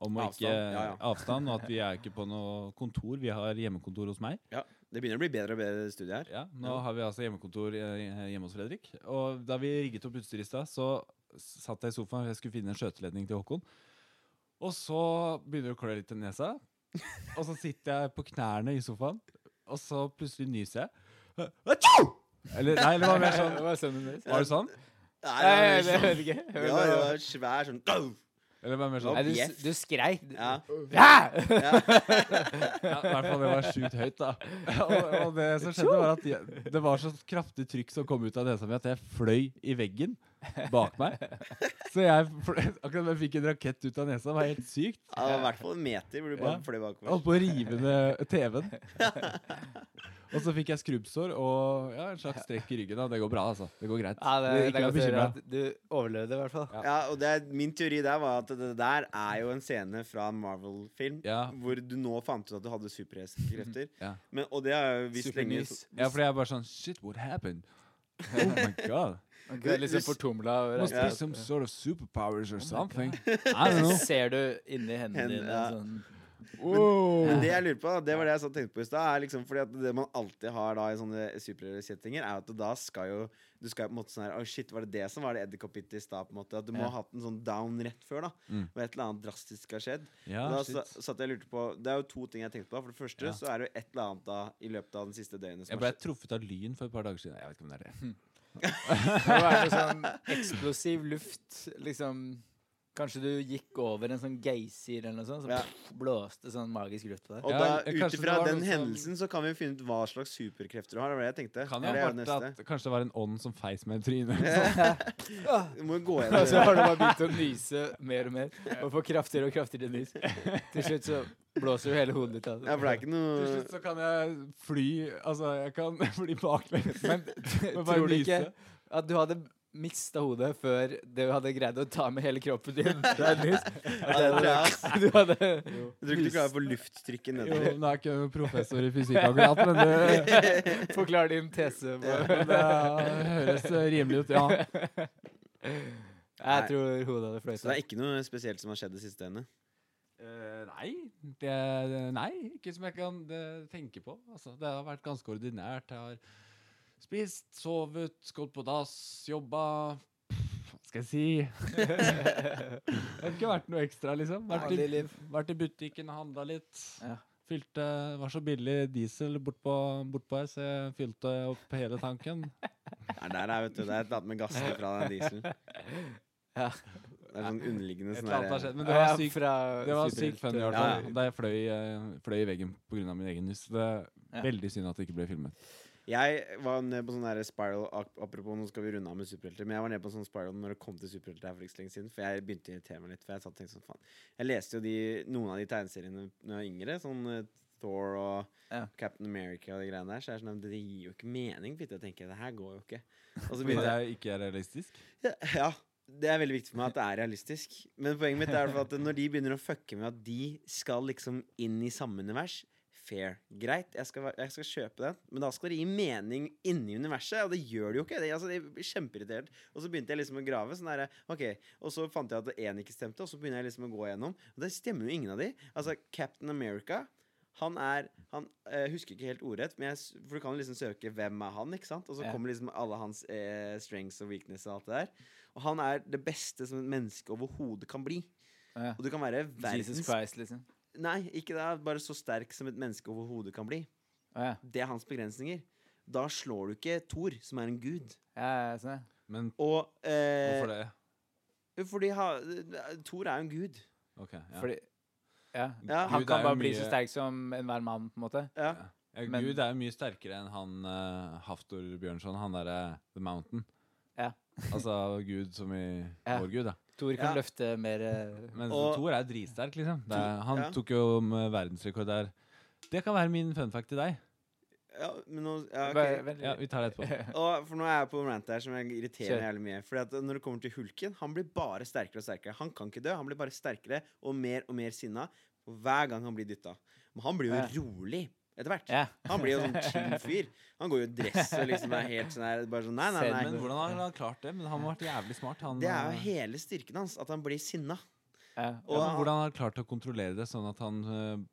[SPEAKER 1] om å
[SPEAKER 2] Avstand,
[SPEAKER 1] ikke
[SPEAKER 2] ja, ja.
[SPEAKER 1] avstand, og at vi er ikke på noe kontor. Vi har hjemmekontor hos meg.
[SPEAKER 2] Ja, Det begynner å bli bedre og bedre studie her.
[SPEAKER 1] Ja, Nå har vi altså hjemmekontor eh, hjemme hos Fredrik. Og da vi rigget opp utstyret i stad, så satt jeg i sofaen og jeg skulle finne en skjøteledning til Håkon. Og så begynner det å klø litt i nesa, og så sitter jeg på knærne i sofaen, og så plutselig nyser jeg. Atjo! Eller nei, det var mer sånn
[SPEAKER 3] Hva er sønnen deres?
[SPEAKER 1] Var det sånn?
[SPEAKER 2] Nei,
[SPEAKER 3] Nei,
[SPEAKER 2] det
[SPEAKER 3] det
[SPEAKER 2] var
[SPEAKER 3] vet
[SPEAKER 2] sånn-
[SPEAKER 3] jeg ikke.
[SPEAKER 2] Ja, det var svær sånn
[SPEAKER 1] Eller var det mer sånn?
[SPEAKER 3] Nei, du, s- du skreik.
[SPEAKER 2] Ja.
[SPEAKER 3] Ja!
[SPEAKER 1] Ja, I hvert fall det var sjukt høyt, da. Og, og det som skjedde, var at jeg, det var så kraftig trykk som kom ut av nesa mi, at jeg fløy i veggen bak meg. Så jeg fløy, akkurat som jeg fikk en rakett ut av nesa. Det var helt sykt.
[SPEAKER 2] Ja, det var i hvert fall en meter hvor du bare
[SPEAKER 1] Ja.
[SPEAKER 2] fløy
[SPEAKER 1] Jeg holdt
[SPEAKER 2] bakover.
[SPEAKER 1] på å rive ned TV-en. Og så fikk jeg skrubbsår og ja, en slags strekk i ryggen. Da. Det går bra, altså. Det går greit.
[SPEAKER 3] ja det,
[SPEAKER 1] Det-
[SPEAKER 3] det
[SPEAKER 1] ikke
[SPEAKER 3] er
[SPEAKER 1] vær
[SPEAKER 3] godt å høre
[SPEAKER 1] bekymra.
[SPEAKER 3] at du overlevde, i hvert fall.
[SPEAKER 1] Ja.
[SPEAKER 2] Ja, og det er, Min teori der var at det der er jo en scene fra en Marvel-film
[SPEAKER 1] Ja. Mhm,
[SPEAKER 2] hvor du nå fant ut at du hadde superhestkrefter.
[SPEAKER 1] Ja.
[SPEAKER 2] Men- Og det har jeg jo visst lenge.
[SPEAKER 3] Supernys.
[SPEAKER 1] ja, fordi jeg bare sånn Shit, what happened? Oh my god.
[SPEAKER 3] Du er liksom
[SPEAKER 2] Hvis-
[SPEAKER 3] fortumla. over
[SPEAKER 1] Must be
[SPEAKER 3] at-
[SPEAKER 1] some sort of superpowers or something. I don't know.
[SPEAKER 3] Ser du inni hendene
[SPEAKER 2] Hende,
[SPEAKER 3] dine
[SPEAKER 2] ja.
[SPEAKER 3] sånn
[SPEAKER 2] Men det jeg lurer på, da, det var det jeg satt og tenkte på i stad. er Liksom, fordi at det man alltid har da i sånne superheltsettinger, er at da skal jo Du skal på en måte sånn her Å, shit, var det det som var det edderkopphitet i stad? på en måte At du må
[SPEAKER 3] Ja.
[SPEAKER 2] ha hatt en sånn down rett før, da.
[SPEAKER 1] Mm.
[SPEAKER 2] Hvor et eller annet drastisk skal ha skjedd.
[SPEAKER 1] Ja,
[SPEAKER 2] da
[SPEAKER 1] shit.
[SPEAKER 2] sa- satt jeg og lurte på Det er jo to ting jeg tenkte på. For det første
[SPEAKER 1] Ja.
[SPEAKER 2] så er det jo et eller annet da i løpet av den siste døgnet
[SPEAKER 1] Jeg
[SPEAKER 2] som
[SPEAKER 1] ble
[SPEAKER 2] har skjedd.
[SPEAKER 1] truffet av lyn for et par dager siden. Jeg vet ikke om det er det.
[SPEAKER 3] Det var noe sånn eksplosiv luft, liksom Kanskje du gikk over en sånn geysir eller noe sånt, som
[SPEAKER 2] Ja.
[SPEAKER 3] blåste sånn magisk luft på deg.
[SPEAKER 2] Og
[SPEAKER 1] Ja,
[SPEAKER 2] da,
[SPEAKER 1] eh,
[SPEAKER 2] ut
[SPEAKER 1] kanskje det
[SPEAKER 2] ifra
[SPEAKER 1] var
[SPEAKER 2] den
[SPEAKER 1] noe som-
[SPEAKER 2] hendelsen så kan vi finne ut hva slags superkrefter du har. Det var det jeg tenkte.
[SPEAKER 1] Kan
[SPEAKER 2] det
[SPEAKER 1] jo
[SPEAKER 2] er
[SPEAKER 1] ha
[SPEAKER 2] jo
[SPEAKER 1] vært
[SPEAKER 2] neste.
[SPEAKER 1] at kanskje det var en ånd som feis meg i trynet.
[SPEAKER 2] Du må jo gå
[SPEAKER 3] Og
[SPEAKER 1] Altså,
[SPEAKER 3] så
[SPEAKER 2] gjennom
[SPEAKER 3] har du bare begynt å nyse mer og mer, og får kraftigere og kraftigere nys. Til slutt så blåser jo hele hodet ditt av.
[SPEAKER 2] Ja, for det er ikke
[SPEAKER 1] Sånn, Til
[SPEAKER 2] noe
[SPEAKER 1] slutt så kan jeg fly Altså, jeg kan fly baklengs.
[SPEAKER 3] Men
[SPEAKER 1] Men bare
[SPEAKER 3] tror du ikke
[SPEAKER 1] nyse.
[SPEAKER 3] at du hadde mista hodet før du hadde greid å ta med hele kroppen din? fra et nys?
[SPEAKER 2] ja, det tror jeg, ass.
[SPEAKER 3] Du hadde
[SPEAKER 2] Jeg tror ikke du klarer å få lufttrykket
[SPEAKER 1] Jo,
[SPEAKER 2] nedover.
[SPEAKER 1] nå er jeg ikke noen professor i fysikk akkurat, men det,
[SPEAKER 3] Forklar din tese. på-
[SPEAKER 1] men det høres rimelig ut, ja.
[SPEAKER 3] Jeg tror hodet hadde fløyt
[SPEAKER 2] Så det
[SPEAKER 3] av.
[SPEAKER 2] er ikke noe spesielt som har skjedd det siste døgnet.
[SPEAKER 1] Eh, nei, det, nei, ikke som jeg kan eh, tenke på. Altså, det har vært ganske ordinært. Jeg har spist, sovet, gått på dass, jobba Hva skal jeg si? det har ikke vært noe ekstra, liksom. Vært
[SPEAKER 3] Vanlig
[SPEAKER 1] i,
[SPEAKER 3] liv.
[SPEAKER 1] vært i butikken, handla litt.
[SPEAKER 3] Ja.
[SPEAKER 1] Fylte, det var så billig diesel bortpå bort på her, så jeg fylte opp hele tanken.
[SPEAKER 2] Nei, der er, vet du, det er et eller annet med gassene fra den dieselen.
[SPEAKER 3] Ja.
[SPEAKER 2] Det er sånn underliggende
[SPEAKER 1] Et
[SPEAKER 2] sånn
[SPEAKER 1] eller annet har
[SPEAKER 2] der-
[SPEAKER 1] skjedd, men det var
[SPEAKER 3] Ja,
[SPEAKER 1] sykt
[SPEAKER 3] fra
[SPEAKER 1] Det var
[SPEAKER 3] superhelt-
[SPEAKER 1] sykt funny, i hvert
[SPEAKER 2] Ja,
[SPEAKER 1] fall. Da jeg fløy, eh, fløy i veggen pga. min egen hus. Det er
[SPEAKER 3] Ja.
[SPEAKER 1] Veldig synd at det ikke ble filmet.
[SPEAKER 2] Jeg var nede på sånn der spiral ap- Apropos, nå skal vi runde av med superhelter. Men jeg var nede på sånn spiral når det kom til superhelter her for ikke så lenge siden. For jeg begynte å irritere meg litt. For jeg satt og tenkte sånn, faen. Jeg leste jo de, noen av de tegneseriene når jeg var yngre. Sånn eh, Thor og
[SPEAKER 3] Ja.
[SPEAKER 2] Captain America og de greiene der. Så jeg er sånn, det gir jo ikke mening. Fitte, jeg tenker, det her går jo ikke. Og så
[SPEAKER 1] Fordi
[SPEAKER 2] begynte jeg
[SPEAKER 1] det er ikke er realistisk.
[SPEAKER 2] Ja, Ja. Det er veldig viktig for meg at det er realistisk. Men poenget mitt er i hvert fall at når de begynner å fucke med at de skal liksom inn i samme univers Fair. Greit, jeg skal, være- jeg skal kjøpe den, men da skal det gi mening inni universet. Og det gjør det jo ikke. Det, altså, det blir kjempeirritert. Og så begynte jeg liksom å grave. Sånn der, ok, Og så fant jeg at én ikke stemte, og så begynner jeg liksom å gå igjennom. Og det stemmer jo ingen av de. Altså, Captain America han er han, eh, husker ikke helt ordrett, men jeg, s- for du kan jo liksom søke 'Hvem er han?' ikke sant? Og så
[SPEAKER 3] Ja.
[SPEAKER 2] kommer liksom alle hans eh, strengths og weakness og alt det der. Og han er det beste som et menneske overhodet kan bli.
[SPEAKER 3] Ja.
[SPEAKER 2] Og du kan være verdens
[SPEAKER 3] Jesus Christ, liksom.
[SPEAKER 2] Nei, ikke det. Bare så sterk som et menneske overhodet kan bli.
[SPEAKER 3] Å ja.
[SPEAKER 2] Det er hans begrensninger. Da slår du ikke Thor, som er en gud.
[SPEAKER 3] ja, ja, sånn. ja.
[SPEAKER 1] Men
[SPEAKER 2] Og eh,
[SPEAKER 1] hvorfor det?
[SPEAKER 2] Fordi ha, Thor er jo en gud.
[SPEAKER 1] Ok, ja.
[SPEAKER 3] Fordi ja.
[SPEAKER 2] Ja.
[SPEAKER 3] Han
[SPEAKER 1] Gud er
[SPEAKER 3] kan
[SPEAKER 1] jo
[SPEAKER 3] bare bli
[SPEAKER 1] mye-
[SPEAKER 3] så sterk som enhver mann, på en måte.
[SPEAKER 2] Ja.
[SPEAKER 1] ja,
[SPEAKER 3] men-
[SPEAKER 1] Gud er jo mye sterkere enn han eh, Haftor Bjørnson, han derre The Mountain.
[SPEAKER 3] Ja.
[SPEAKER 1] altså Gud som i
[SPEAKER 3] Ja.
[SPEAKER 1] vår gud, da.
[SPEAKER 3] Thor kan
[SPEAKER 2] Ja.
[SPEAKER 3] løfte mer eh,
[SPEAKER 1] Men
[SPEAKER 2] Og-
[SPEAKER 1] Thor er dritsterk, liksom. Det er, han
[SPEAKER 2] ja.
[SPEAKER 1] tok jo om eh, verdensrekord der. Det kan være min fun fact til deg.
[SPEAKER 2] Ja, men nå ja, ok.
[SPEAKER 3] Bare vent
[SPEAKER 1] Ja,
[SPEAKER 3] litt.
[SPEAKER 1] vi tar det etterpå.
[SPEAKER 2] Og, for nå er jeg på en rant her som jeg irriterer meg
[SPEAKER 3] Kjør.
[SPEAKER 2] jævlig mye. Fordi at når det kommer til Hulken, han blir bare sterkere og sterkere. Han kan ikke dø. Han blir bare sterkere og mer og mer sinna for hver gang han blir dytta. Men han blir jo
[SPEAKER 3] Ja.
[SPEAKER 2] rolig etter hvert.
[SPEAKER 3] Ja.
[SPEAKER 2] Han blir jo sånn chill fyr. Han går jo i dress og liksom er helt sånn her bare sånn nei, nei,
[SPEAKER 1] Men
[SPEAKER 2] nei.
[SPEAKER 1] hvordan har han klart det? Men han må ha vært jævlig smart. Han,
[SPEAKER 2] Det er
[SPEAKER 1] eh,
[SPEAKER 2] jo hele styrken hans, at han blir sinna.
[SPEAKER 3] Ja.
[SPEAKER 1] ja, men
[SPEAKER 2] og-
[SPEAKER 1] hvordan har han klart å kontrollere det, sånn at han eh,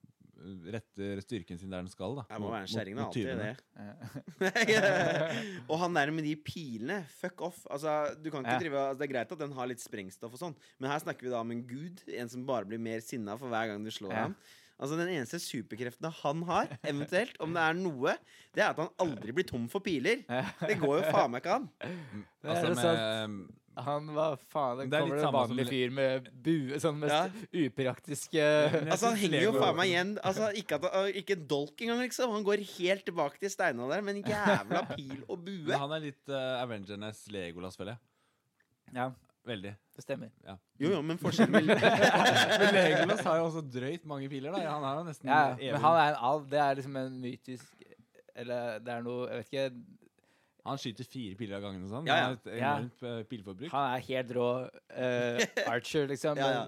[SPEAKER 1] retter styrken sin der den skal? da
[SPEAKER 2] Jeg må
[SPEAKER 1] mot-
[SPEAKER 2] være en kjerring, da.
[SPEAKER 1] mot- mot
[SPEAKER 2] Alltid
[SPEAKER 1] tyvene?
[SPEAKER 2] det. og han der med de pilene, fuck off. Altså, du kan ikke
[SPEAKER 3] Ja.
[SPEAKER 2] drive, altså, det er greit at den har litt sprengstoff og sånn, men her snakker vi da om en gud. En som bare blir mer sinna for hver gang du slår
[SPEAKER 3] Ja.
[SPEAKER 2] ham. Altså Den eneste superkreften han har, eventuelt, om det er noe, det er at han aldri blir tom for piler. Det går jo faen meg ikke an.
[SPEAKER 3] Det er
[SPEAKER 1] Altså,
[SPEAKER 3] det
[SPEAKER 1] med,
[SPEAKER 3] Han var faen Det
[SPEAKER 1] Det er litt
[SPEAKER 3] kommer det en
[SPEAKER 1] samme som
[SPEAKER 3] vanlig
[SPEAKER 1] le-
[SPEAKER 3] fyr med bue, sånn mest
[SPEAKER 2] Ja.
[SPEAKER 3] upraktiske
[SPEAKER 1] Men jeg
[SPEAKER 2] Altså Han
[SPEAKER 1] synes
[SPEAKER 2] henger jo
[SPEAKER 1] Lego-
[SPEAKER 2] faen meg igjen. Altså Ikke, at, han- ikke dolk engang, liksom. Han går helt tilbake til steina der med en jævla pil og
[SPEAKER 1] men
[SPEAKER 2] bue.
[SPEAKER 1] han er litt uh, Avengernes Legolas, føler jeg.
[SPEAKER 3] Ja,
[SPEAKER 1] Veldig.
[SPEAKER 3] det stemmer.
[SPEAKER 2] Jo, jo, men forskjellen
[SPEAKER 1] Men Legolas har jo også drøyt mange piler, da. Han er jo nesten
[SPEAKER 3] Ja,
[SPEAKER 1] evig.
[SPEAKER 3] men han er en alv. Det er liksom en mytisk Eller det er noe Jeg vet ikke.
[SPEAKER 1] Han skyter fire piler av gangen og sånn.
[SPEAKER 2] Ja, ja.
[SPEAKER 1] Han har et
[SPEAKER 3] Ja.
[SPEAKER 1] enormt eh, pilforbruk.
[SPEAKER 3] Han er helt rå eh, archer, liksom.
[SPEAKER 2] Ja, ja.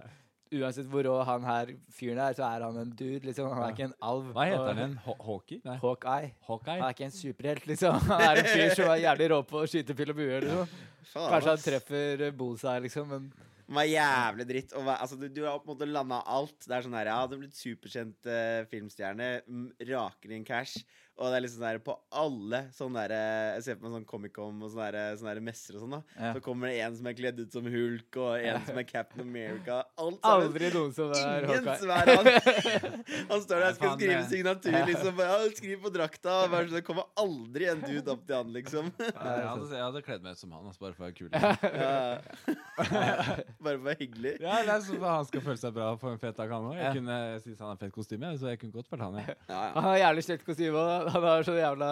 [SPEAKER 3] Men uansett hvor rå han her fyren er, så er han en dude, liksom. Han er ikke en alv.
[SPEAKER 1] Hva heter
[SPEAKER 3] og-
[SPEAKER 1] han igjen? Haw- Hawkeye? Nei,
[SPEAKER 3] Hawkeye. Han
[SPEAKER 1] Hawkeye?
[SPEAKER 3] er ikke en superhelt, liksom. Han er en fyr som er jævlig rå på å skyte pil og bue. Liksom.
[SPEAKER 2] Faen,
[SPEAKER 3] Kanskje han
[SPEAKER 2] ass.
[SPEAKER 3] treffer eh, bullseye, liksom, men
[SPEAKER 2] Den var jævlig dritt. Og, hva- altså, du, du har på en måte landa alt. Det er sånn her, ja, du er blitt superkjent eh, filmstjerne. Mm, raker inn cash. Og det er liksom sånn her på alle sånne der, eh, Jeg ser på meg sånn Comic-Con og sånne, der, sånne der messer og sånn. da
[SPEAKER 3] Ja.
[SPEAKER 2] Så kommer det en som er kledd ut som Hulk, og en som er Captain America. Alt sammen.
[SPEAKER 3] aldri noen som er
[SPEAKER 2] Ingen
[SPEAKER 3] Hawkeye.
[SPEAKER 2] som er han. Han står der og skal
[SPEAKER 1] Faen,
[SPEAKER 2] skrive
[SPEAKER 1] det-
[SPEAKER 2] signatur, liksom. Ja, skriv på drakta. og Bare, så det kommer aldri en dude opp til han, liksom.
[SPEAKER 1] Ja, jeg hadde, jeg hadde kledd meg ut som han, altså, bare for å være kul. ja,
[SPEAKER 2] Ja. Bare for å være hyggelig.
[SPEAKER 1] det er sånn at Han skal føle seg bra på en fet dag, han òg.
[SPEAKER 3] Ja.
[SPEAKER 1] Jeg kunne synes han har fett kostyme, så jeg kunne godt vært han. Jeg.
[SPEAKER 2] Ja, ja.
[SPEAKER 3] Han har jævlig slett kostyme òg. Han har sånn jævla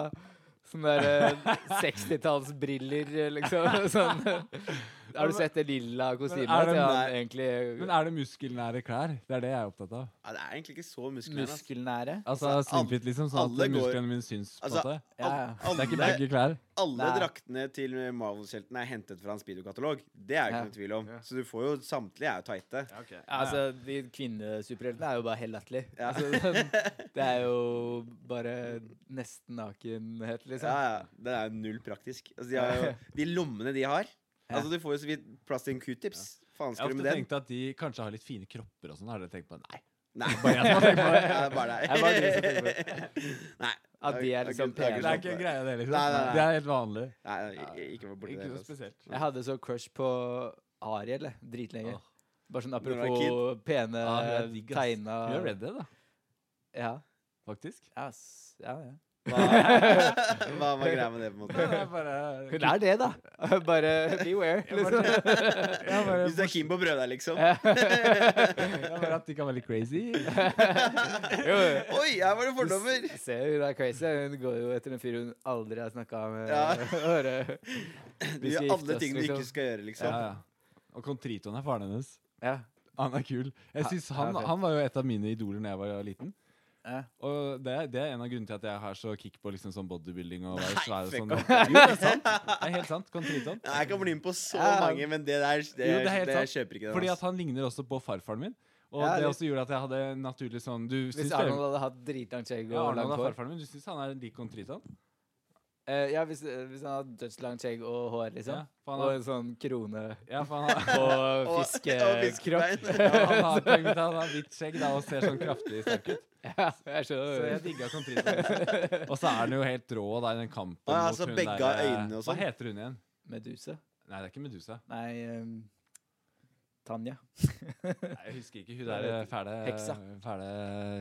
[SPEAKER 3] Sånn der eh, 60-tallsbriller, eh, liksom. Sånn. Har du sett det lilla kostymet?
[SPEAKER 1] Men er
[SPEAKER 3] hans?
[SPEAKER 1] det-
[SPEAKER 3] Ja, han egentlig
[SPEAKER 1] Men er det muskelnære klær? Det er det jeg er opptatt av.
[SPEAKER 2] Ja, det er egentlig ikke så musklene. ass.
[SPEAKER 3] muskelnære?
[SPEAKER 1] Altså
[SPEAKER 2] Altså, al-
[SPEAKER 1] slimfit, liksom, sånn
[SPEAKER 2] alle
[SPEAKER 1] at
[SPEAKER 2] går-
[SPEAKER 1] musklene mine syns. på en
[SPEAKER 2] Altså,
[SPEAKER 1] måte.
[SPEAKER 3] Ja, ja.
[SPEAKER 2] Al-
[SPEAKER 1] Det er ikke
[SPEAKER 2] alle,
[SPEAKER 1] baggy klær.
[SPEAKER 2] alle
[SPEAKER 3] Nei.
[SPEAKER 2] draktene til Marvel-heltene er hentet fra en Speedo-katalog. Det er jo
[SPEAKER 3] Ja.
[SPEAKER 2] ikke noe tvil om. Så du får jo samtlige er jo tighte.
[SPEAKER 3] Altså, de kvinnesuperheltene er jo bare helt latterlig.
[SPEAKER 2] Ja.
[SPEAKER 3] Altså, sånn, det er jo bare nesten nakenhet,
[SPEAKER 2] Ja,
[SPEAKER 3] liksom.
[SPEAKER 2] ja. Det er jo null praktisk. Altså, de, har jo, de lommene de har Altså, Du får jo så vidt plass til en q-tips.
[SPEAKER 1] Jeg
[SPEAKER 2] Faen
[SPEAKER 1] har
[SPEAKER 2] skal du
[SPEAKER 1] ofte
[SPEAKER 2] med den?
[SPEAKER 1] tenkt at de kanskje har litt fine kropper og sånn. Har dere tenkt på det? Nei.
[SPEAKER 2] Nei,
[SPEAKER 1] Bare jeg som har tenkt på det.
[SPEAKER 2] det er bare
[SPEAKER 3] Jeg bare de som
[SPEAKER 2] deg.
[SPEAKER 3] tenker på
[SPEAKER 2] Nei.
[SPEAKER 3] At de er liksom
[SPEAKER 2] Det er
[SPEAKER 1] Det er ikke
[SPEAKER 2] ikke- det er ikke-
[SPEAKER 1] greia, det, liksom.
[SPEAKER 2] Nei, nei, nei.
[SPEAKER 1] Det er helt vanlig.
[SPEAKER 2] Nei, nei, ikke vær borti det.
[SPEAKER 1] Ikke noe
[SPEAKER 2] altså.
[SPEAKER 1] spesielt.
[SPEAKER 3] Jeg hadde så crush på Ariel jeg, dritlenge.
[SPEAKER 1] Åh.
[SPEAKER 3] Bare sånn
[SPEAKER 2] du var
[SPEAKER 3] apropos pene,
[SPEAKER 1] Ja, hun er digg, ass.
[SPEAKER 3] tegna
[SPEAKER 1] Hun er Red Dead, da,
[SPEAKER 3] Ja,
[SPEAKER 1] faktisk.
[SPEAKER 3] ja, s- ja, ja.
[SPEAKER 2] Hva, hva var greia med det, på en
[SPEAKER 1] Det
[SPEAKER 2] måte?
[SPEAKER 1] er bare
[SPEAKER 3] Hun er det, da. Bare beware. Liksom.
[SPEAKER 1] Jeg er bare
[SPEAKER 2] Hvis du er keen på å prøve deg, liksom.
[SPEAKER 1] Det er bare at de kan være litt crazy.
[SPEAKER 3] Jo, jo.
[SPEAKER 2] Oi, her var det fordommer!
[SPEAKER 3] S- Ser jo, hun er crazy. Hun går jo etter en fyr hun aldri har snakka med.
[SPEAKER 2] Ja.
[SPEAKER 3] Bare-
[SPEAKER 2] Du gjør
[SPEAKER 3] skal gifte
[SPEAKER 2] alle
[SPEAKER 3] oss,
[SPEAKER 2] ting du
[SPEAKER 3] liksom.
[SPEAKER 2] ikke skal gjøre,
[SPEAKER 1] Ja,
[SPEAKER 2] liksom.
[SPEAKER 1] ja. Og Contritoen er faren hennes.
[SPEAKER 3] ja.
[SPEAKER 1] Han er kul. Jeg
[SPEAKER 3] Ja,
[SPEAKER 1] synes
[SPEAKER 3] han er
[SPEAKER 1] han,
[SPEAKER 3] fet.
[SPEAKER 1] han var jo et av mine idoler da jeg var liten.
[SPEAKER 3] Ja.
[SPEAKER 1] Og det, er- det er en av grunnene til at jeg har så kick på liksom sånn bodybuilding og være
[SPEAKER 2] Nei,
[SPEAKER 1] svær og
[SPEAKER 2] fuck
[SPEAKER 1] sånn.
[SPEAKER 2] off.
[SPEAKER 1] Jo, det er sant. Det er helt sant. Contritoen.
[SPEAKER 2] Nei, jeg kan bli med på så
[SPEAKER 3] Ja.
[SPEAKER 2] mange, men det der det,
[SPEAKER 1] Jo, det er helt
[SPEAKER 2] det
[SPEAKER 1] sant.
[SPEAKER 2] kjøper ikke den. altså.
[SPEAKER 1] Fordi
[SPEAKER 2] ass.
[SPEAKER 1] at han ligner også på farfaren min. Og
[SPEAKER 3] Ja,
[SPEAKER 1] det
[SPEAKER 3] litt.
[SPEAKER 1] også gjorde at jeg hadde naturlig sånn Du
[SPEAKER 3] Hvis
[SPEAKER 1] syns
[SPEAKER 3] Arnold
[SPEAKER 1] Arnold,
[SPEAKER 3] hadde hatt dritlangt skjegg
[SPEAKER 1] ja,
[SPEAKER 3] og
[SPEAKER 1] Arnold
[SPEAKER 3] langt
[SPEAKER 1] er
[SPEAKER 3] hår
[SPEAKER 1] farfaren min. Du syns han er lik Contritoen?
[SPEAKER 3] Eh, Ja, hvis, eh, hvis han hadde dødslangt skjegg og hår, liksom.
[SPEAKER 1] Ja, for han
[SPEAKER 3] og
[SPEAKER 1] har,
[SPEAKER 3] en sånn krone
[SPEAKER 1] ja, for han har, eh,
[SPEAKER 2] Og-
[SPEAKER 3] og
[SPEAKER 2] og
[SPEAKER 3] fiskekropp.
[SPEAKER 2] fiskebein.
[SPEAKER 1] ja, han har, poeng mitt, han har hvitt skjegg da og ser sånn kraftig sterk ut.
[SPEAKER 3] Ja, jeg
[SPEAKER 1] Så jeg
[SPEAKER 3] skjønner.
[SPEAKER 1] digga Contrita. Og så er han jo helt rå da i den kampen.
[SPEAKER 2] Å ja,
[SPEAKER 1] mot
[SPEAKER 2] altså,
[SPEAKER 1] hun
[SPEAKER 2] begge
[SPEAKER 1] der, eh,
[SPEAKER 2] øynene og sånn.
[SPEAKER 1] Hva heter hun igjen?
[SPEAKER 3] Meduse?
[SPEAKER 1] Nei, det er ikke Medusa.
[SPEAKER 3] Nei ehm, Tanja.
[SPEAKER 1] Nei, jeg husker ikke hun der eh, fæle,
[SPEAKER 3] Heksa.
[SPEAKER 1] fæle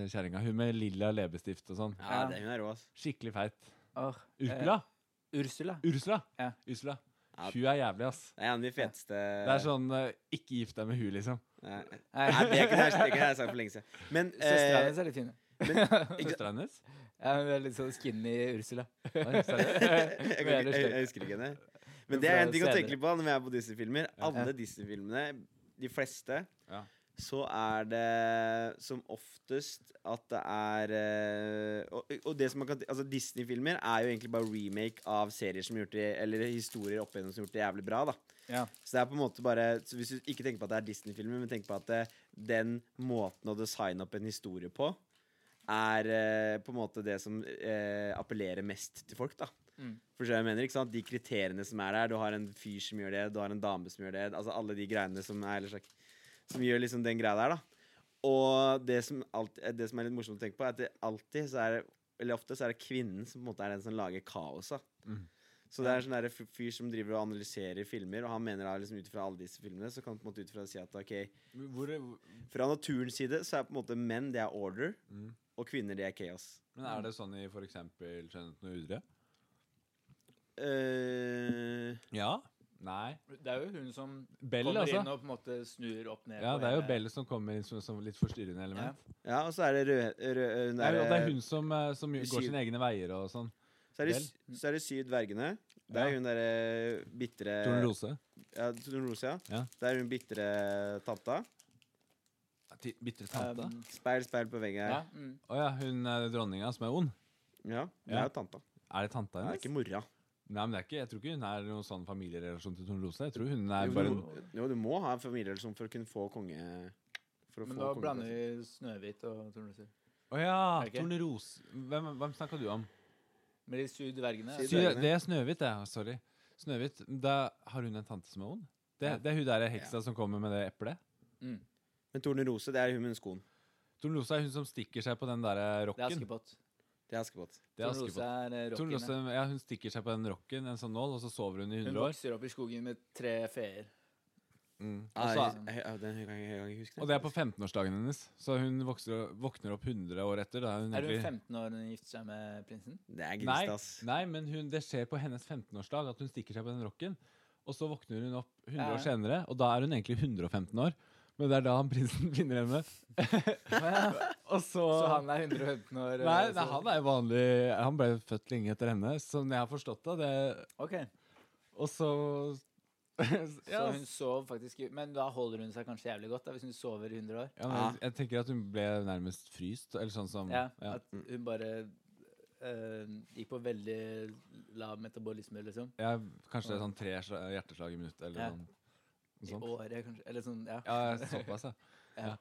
[SPEAKER 1] kjerringa. Hun med lilla leppestift og sånn.
[SPEAKER 2] Ja, det, hun er rå, ass.
[SPEAKER 1] Skikkelig feit.
[SPEAKER 3] Åh,
[SPEAKER 1] Ursula!
[SPEAKER 3] Eh, Ursula.
[SPEAKER 1] Ursula!
[SPEAKER 3] Ja.
[SPEAKER 1] Ursula.
[SPEAKER 2] Ja.
[SPEAKER 1] Hun er jævlig, ass.
[SPEAKER 2] Det er en av de feteste
[SPEAKER 1] Det er sånn eh, Ikke gift deg med hun, liksom.
[SPEAKER 2] Nei, Nei,
[SPEAKER 3] Nei,
[SPEAKER 2] det er ikke det her- det har jeg sagt for lenge siden. Men
[SPEAKER 3] Søstera
[SPEAKER 2] eh,
[SPEAKER 3] hennes er litt fin.
[SPEAKER 2] ikke-
[SPEAKER 1] Søstera hennes.
[SPEAKER 3] Ja, hun er litt sånn skinny Ursula.
[SPEAKER 1] Oi, seriøst?
[SPEAKER 2] jeg, kan ikke-
[SPEAKER 3] Men ellers
[SPEAKER 2] jeg,
[SPEAKER 3] tenker-
[SPEAKER 2] jeg husker ikke henne.
[SPEAKER 3] Men
[SPEAKER 2] Men det er
[SPEAKER 3] fra
[SPEAKER 2] en ting å tenke
[SPEAKER 3] senere.
[SPEAKER 2] litt på når vi er på Disney-filmer.
[SPEAKER 3] Ja.
[SPEAKER 2] Alle Disney-filmene, de fleste,
[SPEAKER 1] Ja.
[SPEAKER 2] så er det som oftest at det er eh, og, og det som man kan Altså Disney-filmer er jo egentlig bare remake av serier som har gjort det Eller historier opp igjennom som har gjort det jævlig bra. da
[SPEAKER 3] Ja.
[SPEAKER 2] Så det er på en måte bare så Hvis du ikke tenker på at det er Disney-filmer, men tenker på at eh, den måten å designe opp en historie på, er eh, på en måte det som eh, appellerer mest til folk, da.
[SPEAKER 3] Mm.
[SPEAKER 2] For jeg mener, ikke sant? De kriteriene som er der, du har en fyr som gjør det, du har en dame som gjør det, altså alle de greiene som er eller slik, Som gjør liksom den greia der, da. Og det som, alt, eh, det som er litt morsomt å tenke på, er at det alltid så er det Eller ofte så er det kvinnen som på en måte er den som lager kaoset.
[SPEAKER 1] Mm.
[SPEAKER 2] Så det er en sånn der f- fyr som driver og analyserer filmer, og han mener da liksom ut fra alle disse filmene, så kan han på en måte ut fra si at ok,
[SPEAKER 1] Hvor, hvor-
[SPEAKER 2] fra naturens side så er på en måte menn det er order,
[SPEAKER 1] Mm.
[SPEAKER 2] og kvinner det er kaos.
[SPEAKER 1] men er det sånn i for eksempel Skjønnheten og udre?
[SPEAKER 2] Eh,
[SPEAKER 1] Ja. Nei.
[SPEAKER 3] Det er jo hun som
[SPEAKER 1] Bell,
[SPEAKER 3] kommer
[SPEAKER 1] altså.
[SPEAKER 3] inn og på en måte snur opp ned.
[SPEAKER 1] Ja,
[SPEAKER 3] på
[SPEAKER 1] det er jo
[SPEAKER 3] hele-
[SPEAKER 1] Bell som kommer inn som, som litt forstyrrende element.
[SPEAKER 2] ja, og så er det rød... rød hun
[SPEAKER 1] Nei,
[SPEAKER 2] der,
[SPEAKER 1] og det er
[SPEAKER 2] eh,
[SPEAKER 1] hun som, eh, som jo går
[SPEAKER 2] Syv.
[SPEAKER 1] sine egne veier og sånn.
[SPEAKER 2] Så er det,
[SPEAKER 1] Vel.
[SPEAKER 2] sy- så er det syv dvergene. Det er
[SPEAKER 1] Ja.
[SPEAKER 2] hun derre bitre
[SPEAKER 1] Eh, Tornerose.
[SPEAKER 2] Ja, Tornerose, ja.
[SPEAKER 1] Ja.
[SPEAKER 2] Det er hun bitre tanta.
[SPEAKER 1] Bitre tante.
[SPEAKER 3] Um,
[SPEAKER 2] Speil, speil på veggen
[SPEAKER 3] ja,
[SPEAKER 2] her.
[SPEAKER 3] mm.
[SPEAKER 1] Å ja, hun eh, dronninga som er ond.
[SPEAKER 2] Ja, det
[SPEAKER 1] Ja.
[SPEAKER 2] er jo tanta.
[SPEAKER 1] Er det tanta
[SPEAKER 2] Det er
[SPEAKER 1] hennes?
[SPEAKER 2] ikke mora.
[SPEAKER 1] Nei, men det er ikke, Jeg tror ikke hun er noen sånn familierelasjon til Tornerose. Jeg tror hun er
[SPEAKER 2] Jo,
[SPEAKER 1] bare
[SPEAKER 2] du,
[SPEAKER 1] en
[SPEAKER 2] må- jo, du må ha en familierelasjon for å kunne få konge... For å
[SPEAKER 3] Men
[SPEAKER 2] få
[SPEAKER 3] nå
[SPEAKER 2] kongeplass.
[SPEAKER 3] blander vi Snøhvit og Torneser.
[SPEAKER 1] Å ja!
[SPEAKER 3] Er det ikke?
[SPEAKER 1] Tornerose. Hvem, hvem snakka du om?
[SPEAKER 3] Med de syv dvergene. altså.
[SPEAKER 2] Syv
[SPEAKER 1] Sy,
[SPEAKER 2] dvergene.
[SPEAKER 1] det er Snøhvit, det. er- Sorry. Snøhvit, da har hun en tante som er ond? Det,
[SPEAKER 3] Ja.
[SPEAKER 1] det er hun der heksa som kommer med det eplet?
[SPEAKER 3] Mm.
[SPEAKER 2] Men Tornerose, det er hun med skoen.
[SPEAKER 1] Tornerose er hun som stikker seg på den der eh,
[SPEAKER 3] Det er
[SPEAKER 1] rocken.
[SPEAKER 3] Askepott.
[SPEAKER 2] Det er Askepott.
[SPEAKER 1] Det er
[SPEAKER 3] Tornerose
[SPEAKER 1] Askepott.
[SPEAKER 3] er eh, rocken.
[SPEAKER 1] Tornerose,
[SPEAKER 3] ja.
[SPEAKER 1] ja, hun stikker seg på den rocken, en sånn nål, og så sover hun i
[SPEAKER 3] Hun
[SPEAKER 1] 100 år.
[SPEAKER 3] vokser opp i skogen med tre feer.
[SPEAKER 1] Mm.
[SPEAKER 2] Ah,
[SPEAKER 1] Og så-
[SPEAKER 2] jeg, jeg, jeg, den kan jeg, jeg kan ikke huske
[SPEAKER 1] Og det er på 15-årsdagen hennes, så hun vokser, våkner opp 100 år etter. Da er hun
[SPEAKER 3] Er hun
[SPEAKER 1] egentlig-
[SPEAKER 3] 15 år når hun gifter seg med prinsen?
[SPEAKER 2] Det
[SPEAKER 1] Nei.
[SPEAKER 2] er grist, ass.
[SPEAKER 1] Nei, men hun, det skjer på hennes 15-årsdag at hun stikker seg på den rocken. Og så våkner hun opp 100
[SPEAKER 3] Ja, ja.
[SPEAKER 1] år senere, og da er hun egentlig 115 år. Men det er da han prinsen finner henne. Og så,
[SPEAKER 3] Så han er 115 år?
[SPEAKER 1] nei,
[SPEAKER 3] eh,
[SPEAKER 1] nei,
[SPEAKER 3] så-
[SPEAKER 1] han er jo vanlig Han ble født lenge etter henne, som jeg har forstått det. det
[SPEAKER 3] Ok,
[SPEAKER 1] og så
[SPEAKER 3] Så
[SPEAKER 1] ja, altså,
[SPEAKER 3] hun sov faktisk i- Men da holder hun seg kanskje jævlig godt, da, hvis hun sover i 100 år?
[SPEAKER 1] ja, men jeg, jeg tenker at hun ble nærmest fryst, eller sånn som
[SPEAKER 3] Ja,
[SPEAKER 1] ja.
[SPEAKER 3] At
[SPEAKER 2] Mm.
[SPEAKER 3] hun bare eh, gikk på veldig lav metabolisme, liksom.
[SPEAKER 1] Ja, Kanskje det er sånn tre sla- hjerteslag i minuttet, eller sånn,
[SPEAKER 3] Ja.
[SPEAKER 1] noe
[SPEAKER 3] I
[SPEAKER 1] sånt.
[SPEAKER 3] året, kanskje. Eller sånn, ja.
[SPEAKER 1] Ja, såpass, ja.
[SPEAKER 2] Ja,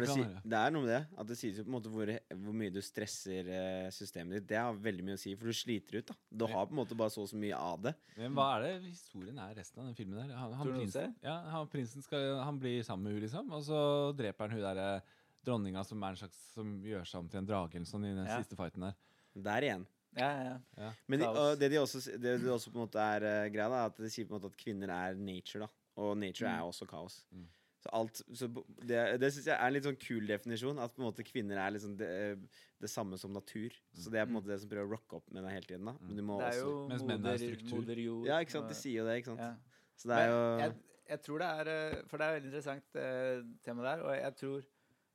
[SPEAKER 1] Det
[SPEAKER 2] det,
[SPEAKER 1] kan
[SPEAKER 2] si,
[SPEAKER 1] være.
[SPEAKER 2] det er noe med det. At det sies jo på en måte hvor, hvor mye du stresser eh, systemet ditt. Det har veldig mye å si, for du sliter ut. da Du har på en måte bare så og så mye av det.
[SPEAKER 1] Men hva er det historien er resten av den filmen der? Han, han,
[SPEAKER 3] Tror du noen
[SPEAKER 1] prinsen, ja, han, prinsen skal, han blir sammen med hun liksom, og så dreper han hun der eh, dronninga som er en slags Som gjør seg om til en drage eller sånn i den
[SPEAKER 3] Ja.
[SPEAKER 1] siste fighten der.
[SPEAKER 2] Der igjen.
[SPEAKER 3] ja, ja, ja.
[SPEAKER 2] Men de,
[SPEAKER 3] Kaos.
[SPEAKER 2] og det de også, s- det de også på en måte er eh, greia, da, er at det sier på en måte at kvinner er nature. da Og nature er også kaos.
[SPEAKER 1] Mm.
[SPEAKER 2] Så alt så bo- Det, det syns jeg er en litt sånn kul definisjon. At på en måte kvinner er liksom det, eh, det samme som natur.
[SPEAKER 1] Mm.
[SPEAKER 2] Så det er på en måte det som prøver å rocke opp med deg hele tiden. da Men du må
[SPEAKER 3] Mm. Det er
[SPEAKER 2] også
[SPEAKER 3] jo
[SPEAKER 1] Mens menn er
[SPEAKER 3] moder,
[SPEAKER 1] struktur.
[SPEAKER 3] moder jord.
[SPEAKER 2] Ja, ikke sant.
[SPEAKER 3] og-
[SPEAKER 2] De sier jo det, ikke sant.
[SPEAKER 3] ja.
[SPEAKER 2] Så det er jo
[SPEAKER 3] Men jeg, jeg tror det er eh, For det er et veldig interessant eh, tema der, og jeg tror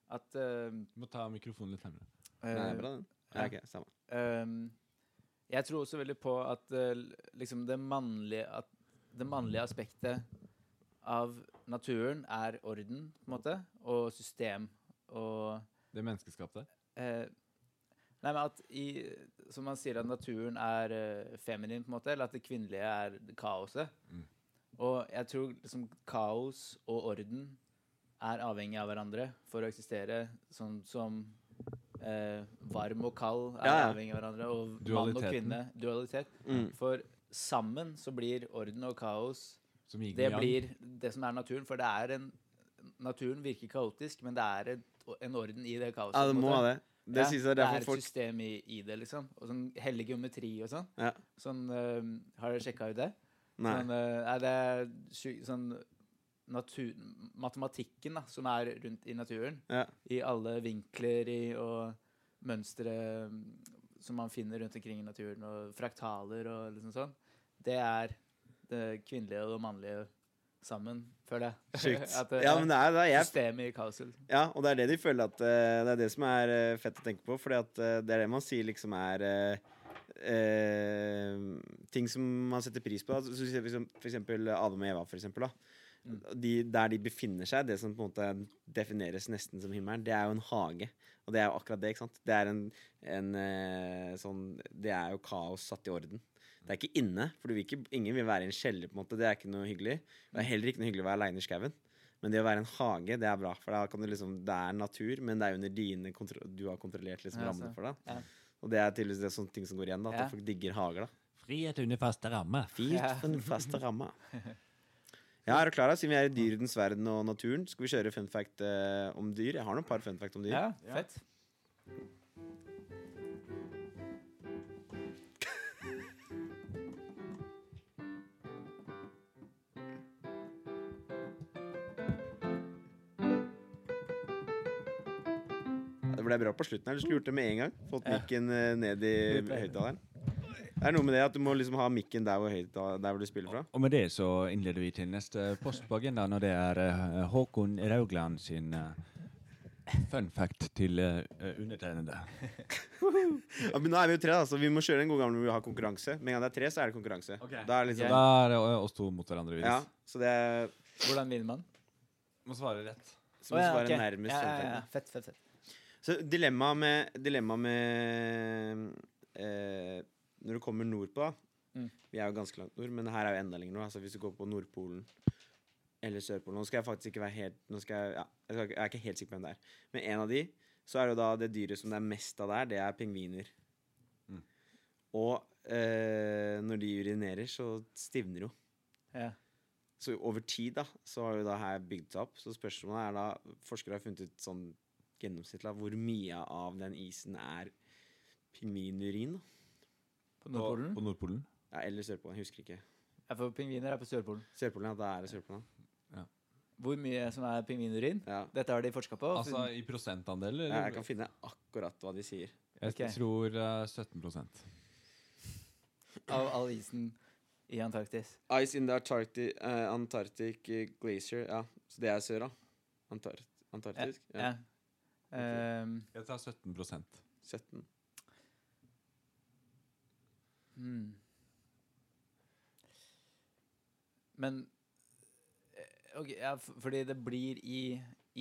[SPEAKER 3] at eh,
[SPEAKER 1] Du må ta mikrofonen litt nærmere.
[SPEAKER 2] Nei, det
[SPEAKER 3] eh,
[SPEAKER 2] er bra, den. Ja, ok, samme.
[SPEAKER 3] Ehm, jeg tror også veldig på at eh, l- liksom det mannlige at det mannlige aspektet av naturen er orden, på en måte, og system. Og
[SPEAKER 1] Det menneskeskapte.
[SPEAKER 3] eh, Nei, men at i Som man sier at naturen er eh, feminin, på en måte, eller at det kvinnelige er kaoset.
[SPEAKER 1] Mm.
[SPEAKER 3] Og jeg tror liksom kaos og orden er avhengig av hverandre for å eksistere, sånn som eh, varm og kald er
[SPEAKER 2] Ja, ja.
[SPEAKER 3] avhengig av hverandre, og mann og
[SPEAKER 1] Dualiteten.
[SPEAKER 3] kvinne. Dualitet.
[SPEAKER 2] Mm.
[SPEAKER 3] For sammen så blir orden og kaos
[SPEAKER 1] Som yin
[SPEAKER 3] det
[SPEAKER 1] og yang.
[SPEAKER 3] blir det som er naturen, for det er en Naturen virker kaotisk, men det er et, en orden i det kaoset.
[SPEAKER 2] Ja,
[SPEAKER 3] på
[SPEAKER 2] det
[SPEAKER 3] en
[SPEAKER 2] må
[SPEAKER 3] måte.
[SPEAKER 2] ha det. Det
[SPEAKER 3] Ja,
[SPEAKER 2] synes jeg
[SPEAKER 3] det
[SPEAKER 2] derfor
[SPEAKER 3] er et
[SPEAKER 2] folk
[SPEAKER 3] system i, i det, liksom. Og sånn hellig geometri og sånn.
[SPEAKER 2] Ja.
[SPEAKER 3] Sånn, øhm, Har dere sjekka ut det?
[SPEAKER 2] Nei.
[SPEAKER 3] Sånn, øh, er det sju- sånn natur, Matematikken da, som er rundt i naturen,
[SPEAKER 2] Ja.
[SPEAKER 3] i alle vinkler i, og mønstre øhm, som man finner rundt omkring i naturen, og fraktaler og liksom sånn, det er det kvinnelige og det mannlige sammen, føler jeg.
[SPEAKER 2] Sjukt.
[SPEAKER 3] At det
[SPEAKER 2] Ja,
[SPEAKER 3] er
[SPEAKER 2] men det er, det er, jeg,
[SPEAKER 3] systemet i kaoset. liksom.
[SPEAKER 2] ja, og det er det de føler at eh, Det er det som er eh, fett å tenke på, Fordi at eh, det er det man sier liksom er eh, altså, eh, ting som man setter pris på. da. Så- så sier vi som- For eksempel Adam og Eva, for eksempel. Da. de, der de befinner seg, det som på en måte defineres nesten som himmelen, det er jo en hage. Og det er jo akkurat det. ikke sant? Det er en, en eh, sånn Det er jo kaos satt i orden. Det er ikke inne, for du vil ikke, ingen vil være i en kjeller. på en måte, Det er ikke noe hyggelig. Det er heller ikke noe hyggelig å være aleine i skauen. Men det å være i en hage, det er bra. For da kan du liksom, det er natur, men det er under dine kontro du har kontrollert liksom
[SPEAKER 3] Ja,
[SPEAKER 2] rammene
[SPEAKER 3] så-
[SPEAKER 2] for det.
[SPEAKER 3] ja.
[SPEAKER 2] Og det er tydeligvis det er sånne ting som går igjen, da, at
[SPEAKER 3] Ja.
[SPEAKER 2] folk digger hager. da.
[SPEAKER 4] Frihet under faste rammer.
[SPEAKER 2] Fint
[SPEAKER 3] Ja.
[SPEAKER 2] for den faste ramma. Ja, er du klar? da? Siden vi er i dyrens verden og naturen, skal vi kjøre fun fact eh, om dyr? Jeg har noen par fun fact om dyr.
[SPEAKER 3] Ja, fett.
[SPEAKER 2] Det ble bra på slutten her. Du skulle gjort det med en gang. Fått
[SPEAKER 3] Ja.
[SPEAKER 2] mikken eh, ned i høyttaleren. Det er noe med det at du må liksom ha mikken der hvor, høyttal- der hvor du spiller fra.
[SPEAKER 4] Og med det så innleder vi til neste post på agendaen, og det er eh, Håkon Raugland sin eh, fun fact til eh, undertegnede.
[SPEAKER 2] Ja, men nå er vi jo tre, da, så vi må kjøre en god gammel hvor vi har konkurranse. Med en gang det er tre, så er det konkurranse. Da er
[SPEAKER 4] Så
[SPEAKER 2] det liksom,
[SPEAKER 3] Ja.
[SPEAKER 4] da er det eh, oss to mot hverandre.
[SPEAKER 2] ja,
[SPEAKER 4] Videre.
[SPEAKER 2] så det er
[SPEAKER 3] Hvordan vinner man?
[SPEAKER 1] Må svare rett.
[SPEAKER 2] som å
[SPEAKER 3] Å ja,
[SPEAKER 2] svare
[SPEAKER 3] ok.
[SPEAKER 2] nærmest.
[SPEAKER 3] Ja, ja,
[SPEAKER 2] fun
[SPEAKER 3] ja.
[SPEAKER 2] facten.
[SPEAKER 3] Fett, fett, fett.
[SPEAKER 2] Så dilemmaet med, dilemma med eh, Når du kommer nordpå, da
[SPEAKER 3] Mm.
[SPEAKER 2] Vi er jo ganske langt nord, men her er jo enda lenger nå. Altså hvis du går på Nordpolen eller Sørpolen Nå skal jeg faktisk ikke være helt Nå skal jeg, ja, jeg, skal, ikke- jeg er ikke helt sikker på hvem det er. Men en av de, så er det jo da det dyret som det er mest av der, det er pingviner.
[SPEAKER 4] Mm.
[SPEAKER 2] Og eh, når de urinerer, så stivner jo.
[SPEAKER 3] Ja.
[SPEAKER 2] Så over tid da, så har jo da her bygd seg opp. Så spørsmålet er da Forskere har funnet ut sånn gjennomsnittlig da, hvor mye av den isen er pingvinurin. da?
[SPEAKER 3] På Nordpolen?
[SPEAKER 4] På Nordpolen.
[SPEAKER 2] Ja, eller Sørpolen. Jeg husker ikke.
[SPEAKER 3] Ja, for pingviner er på Sørpolen.
[SPEAKER 2] Sørpolen, ja. Da er det Sørpolen.
[SPEAKER 3] Hvor mye som er pingvinurin?
[SPEAKER 2] Ja.
[SPEAKER 3] Dette har de forska på.
[SPEAKER 1] Altså i prosentandel?
[SPEAKER 2] Ja, jeg
[SPEAKER 1] Eller?
[SPEAKER 2] kan finne akkurat hva de sier.
[SPEAKER 1] Jeg
[SPEAKER 3] Ok.
[SPEAKER 1] tror eh, 17
[SPEAKER 3] av all isen i Antarktis.
[SPEAKER 2] Ice in the Antarctic, eh, Antarctic eh, Glacier. Ja, så det er sør, da. Antart Antarktisk? Ja.
[SPEAKER 3] Ja. Ehm,
[SPEAKER 1] Jeg tar 17
[SPEAKER 2] 17.
[SPEAKER 3] hmm. Men eh, ok, ja, f- fordi det blir i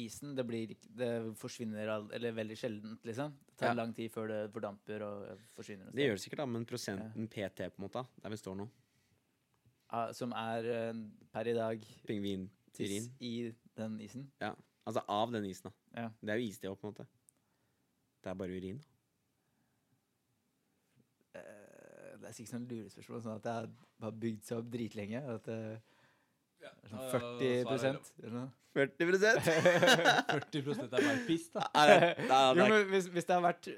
[SPEAKER 3] isen. Det, blir, ikke- det forsvinner all, eller veldig sjeldent, liksom. Det tar
[SPEAKER 2] Ja.
[SPEAKER 3] lang tid før det fordamper og eh, forsvinner. noe
[SPEAKER 2] Det
[SPEAKER 3] sted.
[SPEAKER 2] gjør det sikkert, da, men prosenten PT på en måte, da, der vi står nå
[SPEAKER 3] Ah, som er eh, per i dag tiss
[SPEAKER 2] Pingvintyrin.
[SPEAKER 3] i den isen.
[SPEAKER 2] Altså av den isen, da.
[SPEAKER 3] Ja.
[SPEAKER 2] Det er jo iste òg, på en måte. Det er bare urin.
[SPEAKER 3] Eh, det er sikkert sånn lurespørsmål, sånn at det har bare bygd seg opp dritlenge. og At det er sånn 40 eller noe.
[SPEAKER 2] 40 Nei,
[SPEAKER 1] 40 er bare piss, da.
[SPEAKER 2] det, er- nei, nei,
[SPEAKER 3] Jo,
[SPEAKER 2] det er-
[SPEAKER 3] men hvis, hvis det har vært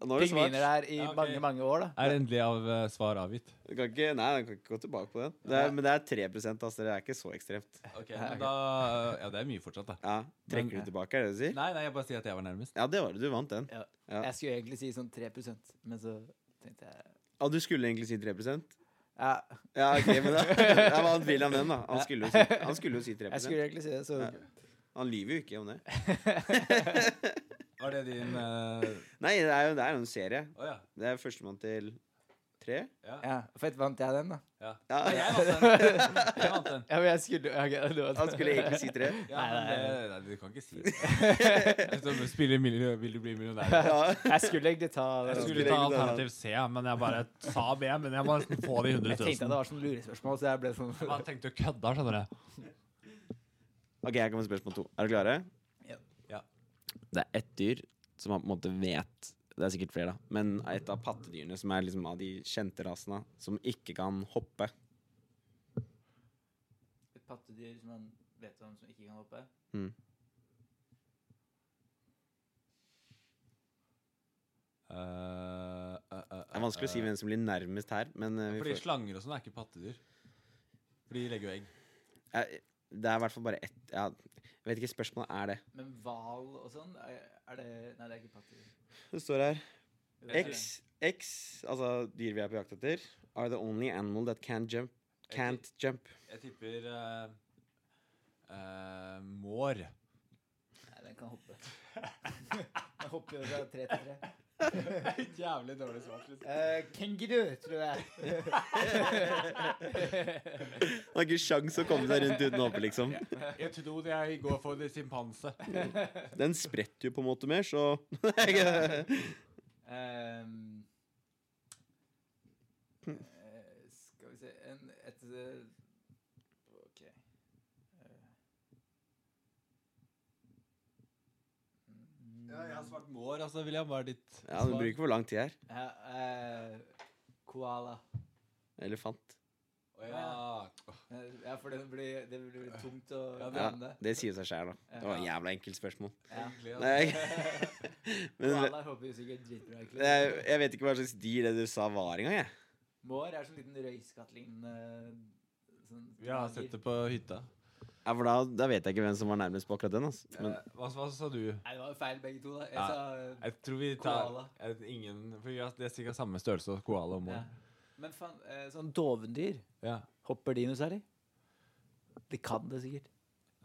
[SPEAKER 2] Nå har du svart.
[SPEAKER 3] pingviner der i
[SPEAKER 1] Ja, ok.
[SPEAKER 3] mange, mange år, da
[SPEAKER 1] Er endelig av eh, svar avgitt.
[SPEAKER 2] Du kan ikke, nei, du kan ikke gå tilbake på den. Det er, men det er 3 altså, det er ikke så ekstremt.
[SPEAKER 1] Ok,
[SPEAKER 3] Ja, ok.
[SPEAKER 1] men da, eh, ja, det er mye fortsatt, da.
[SPEAKER 2] Ja, Trekker
[SPEAKER 1] Men-
[SPEAKER 2] du tilbake, er det det du sier?
[SPEAKER 1] Nei, nei, jeg bare sier at jeg var nærmest.
[SPEAKER 2] Ja, det var det. Du vant den.
[SPEAKER 3] Ja.
[SPEAKER 2] Ja.
[SPEAKER 3] Jeg skulle egentlig si sånn 3 men så tenkte jeg
[SPEAKER 2] Og du skulle egentlig si 3
[SPEAKER 3] ja,
[SPEAKER 2] Ja, ok, men da Jeg vant William den, da. Han skulle jo si, han skulle jo si 3
[SPEAKER 3] Jeg skulle egentlig si det, så
[SPEAKER 2] Ja. Han lyver jo ikke om det.
[SPEAKER 1] Var det din eh,
[SPEAKER 2] Nei, det er jo det er jo en serie.
[SPEAKER 1] Å ja.
[SPEAKER 2] Det er førstemann til tre.
[SPEAKER 3] ja, Fett, vant jeg den, da?
[SPEAKER 2] Ja,
[SPEAKER 1] Nei, Jeg vant den. Jeg vant den.
[SPEAKER 3] Ja, men jeg skulle ja, ok, det var-
[SPEAKER 2] han skulle egentlig si tre.
[SPEAKER 1] Ja,
[SPEAKER 3] Nei,
[SPEAKER 1] men
[SPEAKER 3] nei,
[SPEAKER 1] det, nei, du kan ikke si det. Jeg skal Spille miljø, vil du bli millionær?
[SPEAKER 2] Ja.
[SPEAKER 3] Jeg skulle egentlig ta den.
[SPEAKER 4] Jeg
[SPEAKER 3] Jeg,
[SPEAKER 4] skulle ta alternativ C, men jeg bare sa B. Men jeg må nesten få de 100
[SPEAKER 3] tenkte at
[SPEAKER 4] 000.
[SPEAKER 3] det var sånn lurespørsmål, så jeg ble sånn
[SPEAKER 4] Jeg tenkte å kødde, skjønner du.
[SPEAKER 2] Ok, her kommer spørsmål to. Er dere klare?
[SPEAKER 3] Ja.
[SPEAKER 1] Ja.
[SPEAKER 2] Det er ett dyr som man på en måte vet Det er sikkert flere, da. Men et av pattedyrene som er liksom av de kjente rasene, som ikke kan hoppe.
[SPEAKER 3] Et pattedyr som man vet om som ikke kan hoppe?
[SPEAKER 2] Mm.
[SPEAKER 1] Eh,
[SPEAKER 2] Det er vanskelig å si hvem som blir nærmest her, men eh, vi
[SPEAKER 1] Fordi
[SPEAKER 2] får,
[SPEAKER 1] slanger og sånn er ikke pattedyr. For de legger jo egg.
[SPEAKER 2] Eh, Det er i hvert fall bare ett ja, Jeg vet ikke, spørsmålet er det.
[SPEAKER 3] Men hval og sånn, er er det Nei, det er ikke pattedyr.
[SPEAKER 2] Det står her
[SPEAKER 3] Jo, det er
[SPEAKER 2] X, X, altså dyr vi er på jakt etter, are the only animal that can jump. Can't jump.
[SPEAKER 1] Jeg tipper eh, eh, Mår.
[SPEAKER 3] det. Nei, den kan hoppe. Den hopper jo fra tre til tre.
[SPEAKER 1] Jævlig dårlig svar. liksom.
[SPEAKER 3] Kenguru, Eh, tror jeg.
[SPEAKER 2] Han har ikke sjans å komme seg rundt uten hoppe, liksom.
[SPEAKER 1] Jeg tror jeg går for det simpanse.
[SPEAKER 2] Den spretter jo på en måte mer, så Nei,
[SPEAKER 3] Ehm, eh, skal vi se en, Et eh, OK. Eh,
[SPEAKER 1] Ja, jeg har svart mår, altså, William. Hva er ditt
[SPEAKER 2] Ja, Du bruker for lang tid her.
[SPEAKER 3] Mm, Ja, eh, koala.
[SPEAKER 2] Elefant.
[SPEAKER 1] Å, ja.
[SPEAKER 3] Eh, Ja, for det blir, det blir tungt å
[SPEAKER 1] Ja,
[SPEAKER 2] Ja,
[SPEAKER 3] blande.
[SPEAKER 2] det sier seg sjæl, da. Det var et jævla enkelt spørsmål.
[SPEAKER 3] Ja.
[SPEAKER 1] Egentlig, altså.
[SPEAKER 2] Nei, men
[SPEAKER 3] Koala håper jo sikkert dritbra. egentlig.
[SPEAKER 2] jeg, jeg vet ikke hva slags dyr det du sa var engang, jeg.
[SPEAKER 3] Mår er sånn liten røyskattlignende sånn,
[SPEAKER 1] Vi har sett det på hytta.
[SPEAKER 2] Ja, for da, da vet jeg ikke hvem som var nærmest på akkurat den. Altså. Men
[SPEAKER 1] Hva, hva sa du?
[SPEAKER 3] Nei, det var jo feil begge to, da. Jeg
[SPEAKER 1] Ja.
[SPEAKER 3] sa
[SPEAKER 1] Jeg tror vi tar
[SPEAKER 3] Koala.
[SPEAKER 1] jeg vet ingen For ja, Det er sikkert samme størrelse som koala og mår.
[SPEAKER 3] ja. Men faen, eh, sånn dovendyr
[SPEAKER 1] Ja.
[SPEAKER 3] Hopper de noe særlig? De kan det sikkert.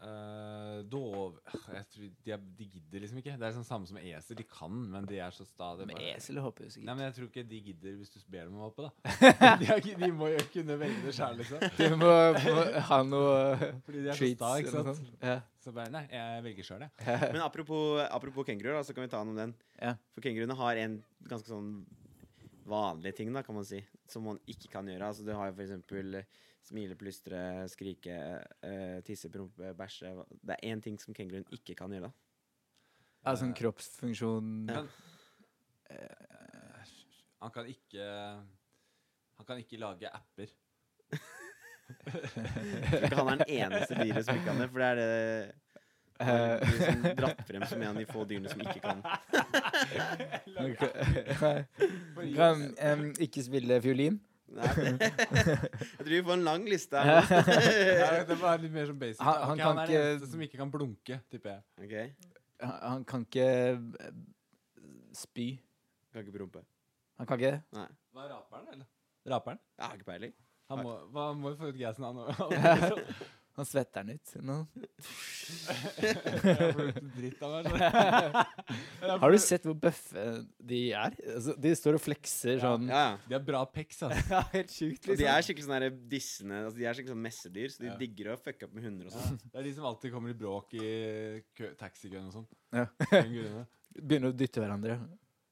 [SPEAKER 1] Eh, dov jeg tror de, er, de gidder liksom ikke. Det er sånn samme som esel. De kan, men de er så sta. det er
[SPEAKER 3] Men
[SPEAKER 1] bare-
[SPEAKER 3] esel hopper jo sikkert.
[SPEAKER 1] Nei, men jeg tror ikke de gidder hvis du ber dem om å hoppe, da. De, er, ikke- de må jo kunne velge det sjøl, liksom.
[SPEAKER 3] Du må, må ha noe eh,
[SPEAKER 1] Fordi de er så
[SPEAKER 3] treats
[SPEAKER 1] sta, ikke
[SPEAKER 3] eller noe
[SPEAKER 1] sant.
[SPEAKER 3] sånt. Ja.
[SPEAKER 1] Så bare Nei, jeg velger sjøl, jeg.
[SPEAKER 2] Men apropos, apropos kenguruer, da, så kan vi ta den om den.
[SPEAKER 3] Ja.
[SPEAKER 2] For kenguruene har en ganske sånn vanlig ting, da, kan man si, som man ikke kan gjøre. Altså, du har jo for eksempel eh, smile, plystre, skrike, eh, tisse, prompe, bæsje hva- Det er én ting som kenguruen ikke kan gjøre. da.
[SPEAKER 3] Altså en kroppsfunksjon
[SPEAKER 2] Ja.
[SPEAKER 1] Han kan ikke Han kan ikke lage apper.
[SPEAKER 2] Jeg tror ikke han er den eneste dyret som ikke kan det, for det er det har
[SPEAKER 3] Eh,
[SPEAKER 2] liksom dratt frem som en av de få dyrene som ikke kan
[SPEAKER 3] Kan em, ikke spille fiolin.
[SPEAKER 2] Nei. Jeg tror vi får en lang liste her.
[SPEAKER 1] Nei, det var litt mer som basic.
[SPEAKER 3] Han-
[SPEAKER 1] da.
[SPEAKER 3] han
[SPEAKER 1] Ok,
[SPEAKER 3] kan
[SPEAKER 1] er den
[SPEAKER 3] ikke-
[SPEAKER 1] eneste som ikke kan blunke, tipper jeg.
[SPEAKER 2] nå. Ok,
[SPEAKER 3] Han, han kan ikke eh, spy.
[SPEAKER 2] Kan ikke prompe.
[SPEAKER 3] Han kan ikke det.
[SPEAKER 2] Nei.
[SPEAKER 1] Var raperen, eller? Raperen?
[SPEAKER 2] Jeg har ikke peiling.
[SPEAKER 1] Han må, hva, må jo få ut gassen, han òg.
[SPEAKER 3] Han svetter den ut. eller noe.
[SPEAKER 1] Dritt av meg. sånn.
[SPEAKER 3] Har du sett hvor bøffe de er? Altså, de står og flekser sånn.
[SPEAKER 2] Ja, ja.
[SPEAKER 1] De har bra pecs, altså.
[SPEAKER 3] Ja, helt sjukt, liksom.
[SPEAKER 2] Og de er skikkelig sånn der dissende altså De er skikkelig sånn messedyr, så de
[SPEAKER 1] Ja.
[SPEAKER 2] digger å fucke opp med hunder og
[SPEAKER 1] Ja,
[SPEAKER 2] sånn.
[SPEAKER 1] det er de som alltid kommer i bråk i kø- taxikøen og sånn.
[SPEAKER 3] Ja.
[SPEAKER 1] Den grunnen.
[SPEAKER 3] Begynner å dytte hverandre.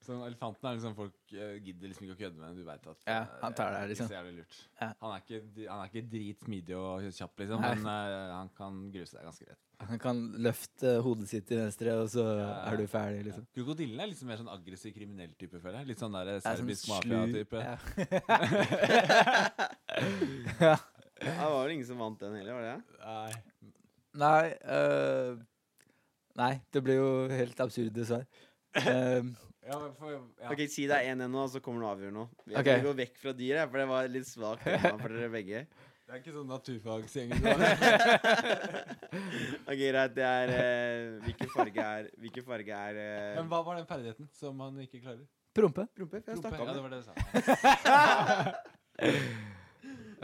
[SPEAKER 1] Sånn, elefanten er liksom folk eh, gidder liksom ikke å kødde med den. Du vet at
[SPEAKER 3] Ja,
[SPEAKER 1] eh,
[SPEAKER 3] han tar
[SPEAKER 1] det er
[SPEAKER 3] deg,
[SPEAKER 1] ikke
[SPEAKER 3] liksom.
[SPEAKER 1] så jævlig lurt.
[SPEAKER 3] Ja.
[SPEAKER 1] Han, er ikke, di- han er ikke dritsmidig og kjapp, liksom,
[SPEAKER 3] Nei.
[SPEAKER 1] men eh, han kan gruse deg ganske greit.
[SPEAKER 3] Han kan løfte hodet sitt til venstre, og så
[SPEAKER 1] ja.
[SPEAKER 3] er du ferdig, liksom.
[SPEAKER 1] Krokodillen er liksom mer sånn aggressiv kriminell type, føler jeg. Litt sånn der
[SPEAKER 3] Det er sånn
[SPEAKER 1] serbisk
[SPEAKER 3] slu-
[SPEAKER 1] mafia-type.
[SPEAKER 3] Ja.
[SPEAKER 2] Ja, det var vel ingen som vant den heller, var det? det?
[SPEAKER 1] Nei.
[SPEAKER 3] Nei øh, Nei, det ble jo helt absurde svar. Ehm,
[SPEAKER 1] Ja, men for, ja.
[SPEAKER 2] Ok, Si det er 1-1 nå, og så kommer du og avgjør nå. Jeg
[SPEAKER 3] Ok.
[SPEAKER 2] vil gå vekk fra dyr, jeg, for det var litt svakt tema for dere begge.
[SPEAKER 1] Det er ikke sånn naturfagsgjeng. du har.
[SPEAKER 2] Ok, greit, det er eh, Hvilken farge er Hvilken farge er eh,
[SPEAKER 1] Men hva var den ferdigheten som han ikke klarer?
[SPEAKER 3] prompe.
[SPEAKER 2] Prompe? for Jeg
[SPEAKER 1] Rope. Ja,
[SPEAKER 2] snakka om
[SPEAKER 1] det
[SPEAKER 2] det.
[SPEAKER 1] var det du sa.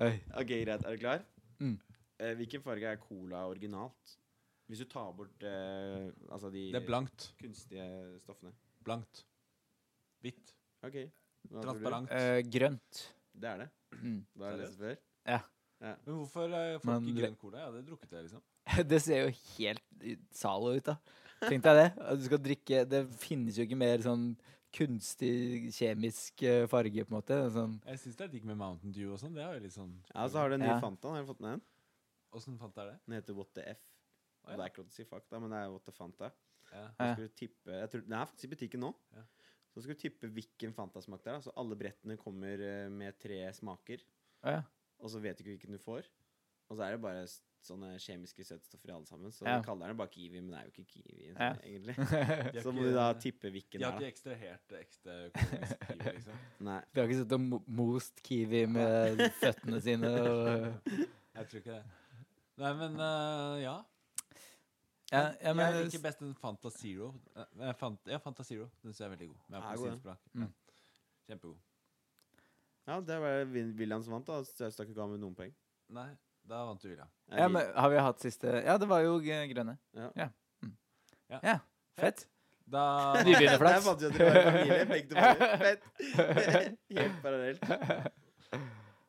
[SPEAKER 3] Oi.
[SPEAKER 2] Ok, greit, er du klar?
[SPEAKER 3] Mm.
[SPEAKER 2] Eh, hvilken farge er cola originalt? Hvis du tar bort eh, altså de
[SPEAKER 1] Det er blankt.
[SPEAKER 2] kunstige stoffene.
[SPEAKER 1] Blankt. Hvitt.
[SPEAKER 2] OK. Hva tror du?
[SPEAKER 1] Transparent.
[SPEAKER 3] Eh, grønt.
[SPEAKER 2] Det er det.
[SPEAKER 3] Mm.
[SPEAKER 2] Da har jeg lest det før.
[SPEAKER 1] Men hvorfor eh, får
[SPEAKER 3] Men
[SPEAKER 1] ikke
[SPEAKER 3] le-
[SPEAKER 1] grønn cola? Jeg hadde drukket det, liksom.
[SPEAKER 3] Det ser jo helt i- Zalo ut, da. Tenk deg det. At du skal drikke Det finnes jo ikke mer sånn kunstig, kjemisk eh, farge, på en måte. Sånn
[SPEAKER 1] Jeg syns det er digg med Mountain Dew og sånn. Det er jo litt sånn
[SPEAKER 2] Ja, så har du en ny
[SPEAKER 3] Ja.
[SPEAKER 2] Fanta. Har du fått med den?
[SPEAKER 1] Åssen fant jeg det?
[SPEAKER 2] Den heter What the F.
[SPEAKER 1] Å, ja.
[SPEAKER 2] Og Det er ikke lov til å si fuck, da, men det er What the Fanta.
[SPEAKER 1] Ja.
[SPEAKER 2] Så
[SPEAKER 3] Ja.
[SPEAKER 2] skal du tippe jeg tror, Den er faktisk i butikken nå.
[SPEAKER 1] Ja.
[SPEAKER 2] Så skal du tippe hvilken Fanta-smak det er. da. Så alle brettene kommer eh, med tre smaker,
[SPEAKER 3] Å ja.
[SPEAKER 2] og så vet du ikke hvilken du får. Og så er det bare s- sånne kjemiske søtstoffer i alle sammen. Så
[SPEAKER 3] Ja.
[SPEAKER 2] de kaller den bare kiwi, men det er jo ikke kiwi.
[SPEAKER 3] Ja.
[SPEAKER 2] egentlig
[SPEAKER 1] De har
[SPEAKER 2] Så må
[SPEAKER 1] ikke-
[SPEAKER 2] du da tippe
[SPEAKER 1] De
[SPEAKER 2] hvilken det
[SPEAKER 1] har
[SPEAKER 2] er.
[SPEAKER 1] ikke ekstrahert ekstra økonomisk liv, liksom.
[SPEAKER 2] da. Nei.
[SPEAKER 3] Vi har ikke sittet og mo- most kiwi med føttene sine og
[SPEAKER 1] Jeg tror ikke det. Nei, men eh, ja.
[SPEAKER 3] Ja, ja men
[SPEAKER 1] jeg liker best den Fanta Zero. Eh, nei, Fant, ja, Fanta Zero. Den synes jeg er veldig god. Med
[SPEAKER 2] Ja, god, ja.
[SPEAKER 1] appelsinsmak.
[SPEAKER 3] Mm.
[SPEAKER 1] Ja. Kjempegod.
[SPEAKER 2] Ja, det var Vil- William som vant, da. Stakk ikke av med noen poeng.
[SPEAKER 1] Nei, da vant du, William.
[SPEAKER 3] Ja, men har vi hatt siste Ja, det var jo eh, grønne.
[SPEAKER 2] Ja.
[SPEAKER 3] Ja. Mm.
[SPEAKER 1] Ja.
[SPEAKER 3] ja. Fett.
[SPEAKER 1] Da
[SPEAKER 2] Der
[SPEAKER 3] Nybegynnerflaks.
[SPEAKER 2] fant vi at dere var i familie. Begge to var Fett. Helt parallelt.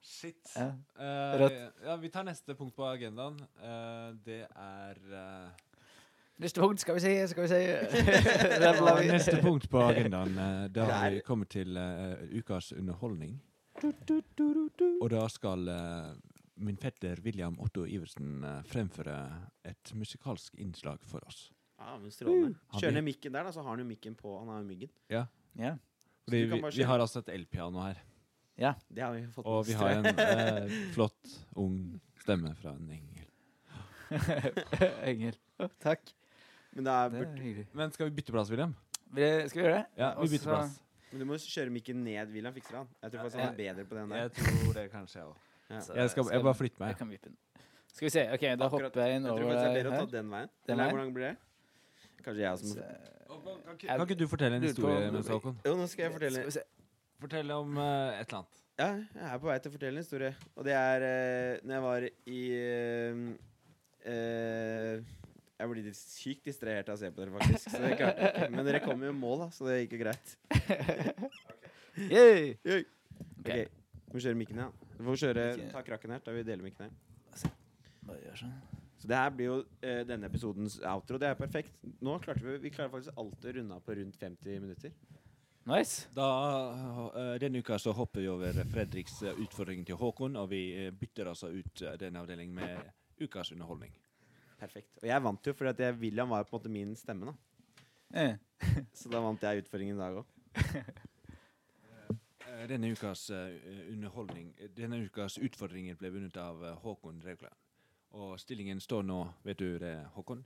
[SPEAKER 1] Shit.
[SPEAKER 3] Ja.
[SPEAKER 1] Eh,
[SPEAKER 3] Rødt.
[SPEAKER 1] ja, vi tar neste punkt på agendaen. Eh, det er eh,
[SPEAKER 3] Neste punkt skal vi se, skal vi se. Der ble vi-
[SPEAKER 4] Neste punkt på agendaen, eh, da har
[SPEAKER 2] Der.
[SPEAKER 4] vi kommet til eh, ukas underholdning. Og da skal eh, min fetter William Otto Iversen eh, fremføre et musikalsk innslag for oss.
[SPEAKER 2] Ja, Ah, men strålende.
[SPEAKER 4] Han
[SPEAKER 2] Kjør
[SPEAKER 4] blir-
[SPEAKER 2] ned mikken der, da, så har han jo mikken på. Han har jo myggen.
[SPEAKER 3] Ja.
[SPEAKER 2] Så du
[SPEAKER 4] Fordi
[SPEAKER 2] kan
[SPEAKER 4] vi,
[SPEAKER 2] bare
[SPEAKER 4] vi
[SPEAKER 2] kjøre.
[SPEAKER 4] har altså et elpiano her,
[SPEAKER 2] Det har vi fått
[SPEAKER 4] og vi
[SPEAKER 2] med oss,
[SPEAKER 4] har
[SPEAKER 2] tror jeg.
[SPEAKER 4] en eh, flott, ung stemme fra en engel.
[SPEAKER 3] Engel. Takk.
[SPEAKER 2] Men, det er,
[SPEAKER 3] Det er hyggelig.
[SPEAKER 1] Men skal vi bytte plass, William?
[SPEAKER 3] Vil- Skal vi gjøre det?
[SPEAKER 1] Ja, vi
[SPEAKER 3] Og
[SPEAKER 1] bytter
[SPEAKER 3] så-
[SPEAKER 1] plass.
[SPEAKER 2] men du må kjøre mikken ned, William fikser han. Jeg tror faktisk han er bedre på den der.
[SPEAKER 1] Jeg tror det kanskje jeg òg.
[SPEAKER 3] så
[SPEAKER 4] Jeg, skal, jeg bare flytter
[SPEAKER 3] jeg
[SPEAKER 4] meg.
[SPEAKER 3] kan vippe den. Skal vi se. Ok, da
[SPEAKER 2] Akkurat.
[SPEAKER 3] hopper jeg inn
[SPEAKER 2] Jeg
[SPEAKER 3] over
[SPEAKER 2] tror faktisk det er bedre å ta
[SPEAKER 3] her.
[SPEAKER 2] den veien.
[SPEAKER 3] Den
[SPEAKER 2] Eller
[SPEAKER 3] veien?
[SPEAKER 2] hvordan blir det? Kanskje jeg som
[SPEAKER 3] Så-
[SPEAKER 4] Kan ikke du fortelle en
[SPEAKER 3] Lurer på om
[SPEAKER 4] historie
[SPEAKER 3] det
[SPEAKER 4] mens
[SPEAKER 3] blir-
[SPEAKER 4] Håkon?
[SPEAKER 2] Jo, nå skal jeg fortelle
[SPEAKER 3] Skal vi se.
[SPEAKER 1] Fortell om eh, et eller annet.
[SPEAKER 2] Ja, jeg er på vei til å fortelle en historie. Og det er uh, når jeg var i eh, eh, Jeg blir litt sykt distrahert av å se på dere, faktisk. Så det klarte jeg ikke. Men dere kom jo i mål, da, så det gikk jo greit.
[SPEAKER 3] Yay!
[SPEAKER 2] Yay.
[SPEAKER 3] Ok,
[SPEAKER 2] Ok, Vi må kjøre mikken, ja. Du får kjøre,
[SPEAKER 3] Ok.
[SPEAKER 2] ta krakken her, da vi deler mikken her.
[SPEAKER 3] bare gjør sånn.
[SPEAKER 2] Så det her blir jo eh, denne episodens outro. Det er perfekt. Nå klarte Vi vi klarer faktisk alltid å runde av på rundt 50 minutter.
[SPEAKER 3] Nice.
[SPEAKER 4] Da, eh, Denne uka så hopper vi over Fredriks eh, utfordring til Håkon, og vi eh, bytter altså ut eh, den avdelingen med ukas underholdning.
[SPEAKER 2] Perfekt. Og jeg vant jo, fordi at jeg, William var jo på en måte min stemme, da.
[SPEAKER 3] Eh,
[SPEAKER 2] Så da vant jeg utfordringen i dag òg.
[SPEAKER 4] Eh, Denne ukas eh, underholdning Denne ukas utfordringer ble vunnet av eh, Håkon Raukland. Og stillingen står nå, vet du det, Håkon?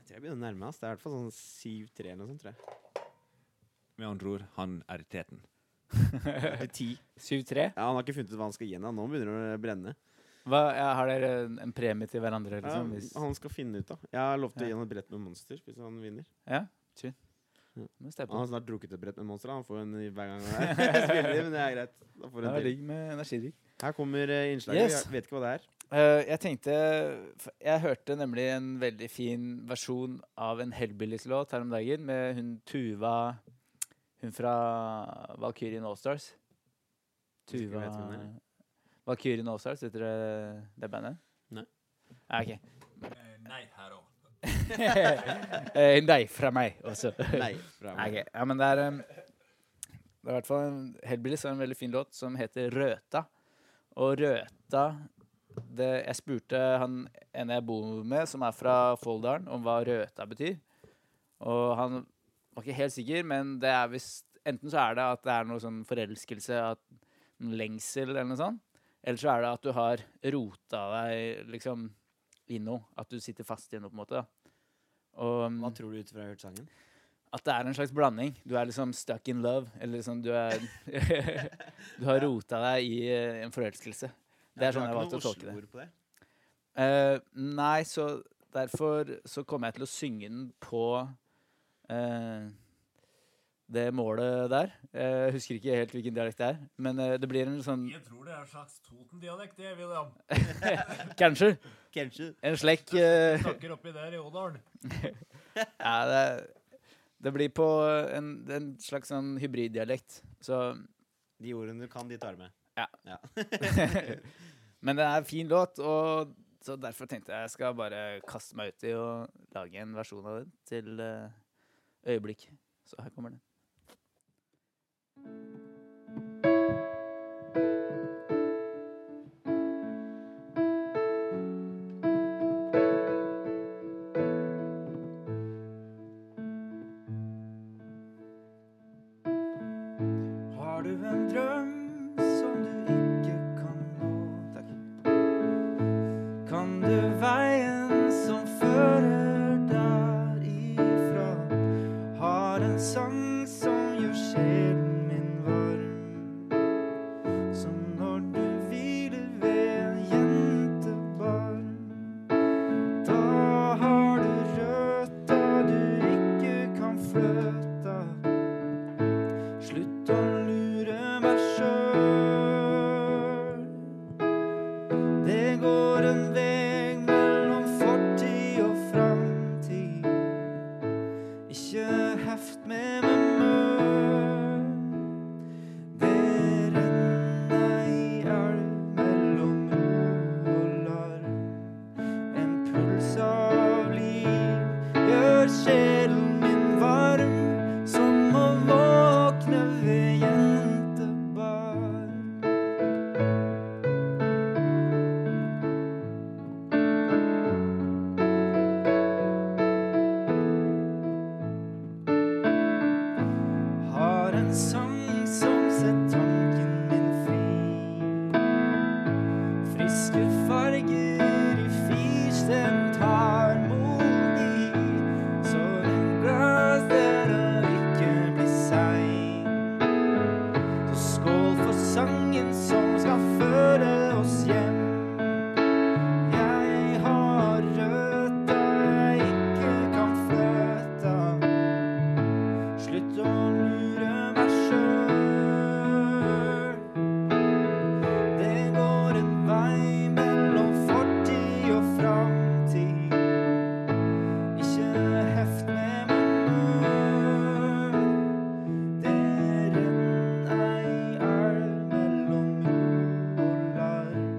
[SPEAKER 2] Jeg tror jeg begynner å nærme meg. ass. Det er i hvert fall sånn 7-3 eller noe sånt, tror jeg.
[SPEAKER 4] Med andre ord, han er i teten.
[SPEAKER 2] Til ti.
[SPEAKER 3] 7-3.
[SPEAKER 2] Ja, Han har ikke funnet ut hva han skal gi henne. Nå begynner det å brenne.
[SPEAKER 3] Hva- ja, Har dere en- en premie til
[SPEAKER 2] Ja,
[SPEAKER 3] hverandre, liksom? Hvis,
[SPEAKER 2] han skal finne ut, da. Jeg har lovt å
[SPEAKER 3] Ja.
[SPEAKER 2] gi han et brett med monster hvis han vinner.
[SPEAKER 3] ja? Chill.
[SPEAKER 2] Ja.
[SPEAKER 3] Må steppe
[SPEAKER 2] Han
[SPEAKER 3] opp.
[SPEAKER 2] har snart drukket et brett med monster. da. Han får en i hver gang han er- spiller, men det er greit. Da får
[SPEAKER 3] Ja,
[SPEAKER 2] han til.
[SPEAKER 3] ligg med energidrikk.
[SPEAKER 2] Her kommer eh, innslaget.
[SPEAKER 3] Yes.
[SPEAKER 2] Jeg vet ikke hva det er.
[SPEAKER 3] Eh, jeg tenkte f- Jeg hørte nemlig en veldig fin versjon av en Hellbillies-låt her om dagen med hun Tuva Hun fra Valkyrien Allstars.
[SPEAKER 2] Hvis ikke
[SPEAKER 3] Tuva
[SPEAKER 2] vet hvem det er.
[SPEAKER 3] Valkyrien Allstars, vet dere det bandet?
[SPEAKER 2] Nei.
[SPEAKER 3] Ja, ok.
[SPEAKER 4] Nei, her òg.
[SPEAKER 3] Eh, Nei fra meg også.
[SPEAKER 2] Nei. Fra
[SPEAKER 3] Nei,
[SPEAKER 2] meg.
[SPEAKER 3] ok. Ja, men det er um, Det er i hvert fall en Hellbillies har en veldig fin låt som heter Røta. Og Røta det, Jeg spurte han ene jeg bor med, som er fra Folldalen, om hva Røta betyr. Og han var ikke helt sikker, men det er visst Enten så er det at det er noe sånn forelskelse, at en lengsel eller noe sånt. Eller så er det at du har rota deg liksom i noe. At du sitter fast i noe, på en måte. da. Og, um,
[SPEAKER 2] Hva tror du ut fra jeg har hørt sangen?
[SPEAKER 3] at det er en slags blanding. Du er liksom stuck in love. Eller liksom du er Du har rota deg i eh, en forelskelse. Det er sånn jeg valgte å tolke det.
[SPEAKER 2] På det.
[SPEAKER 3] Eh, nei, så derfor så kommer jeg til å synge den på eh, det målet der. Eh, Jeg husker ikke helt hvilken dialekt det er, men eh, det blir en sånn
[SPEAKER 1] Jeg tror det er en slags Toten-dialekt, det, William.
[SPEAKER 3] Kanskje.
[SPEAKER 2] Kanskje.
[SPEAKER 3] En slekk eh,
[SPEAKER 1] Snakker oppi der i Ådalen.
[SPEAKER 3] Ja, det, det blir på en, en slags sånn hybriddialekt. Så
[SPEAKER 2] De ordene du kan, de tar med.
[SPEAKER 3] Men det er en fin låt, og så derfor tenkte jeg jeg skal bare kaste meg ut i å lage en versjon av den til eh, øyeblikk. Så her kommer den. Har du en drøm som du ikke kan nå? Takk. Kan du veien som fører derifra? Har en sang som gjør sjelen min varm. Som når du hviler ved en jentebarm. Da har du røtta du ikke kan fløta. Slutt å lure meg sjøl. Sett tanken min fri. Friske farger i fisen tar mot de. Så rent glass der og ikke bli sein. Så skål for sangen som skal føre oss hjem. Jeg har røtta jeg ikke kan fløta. Slutt å lure meg sjøl. Det går en vei mellom fortid og framtid. Ikke heft med meg møl. Det renn ei elv mellom jord og larm.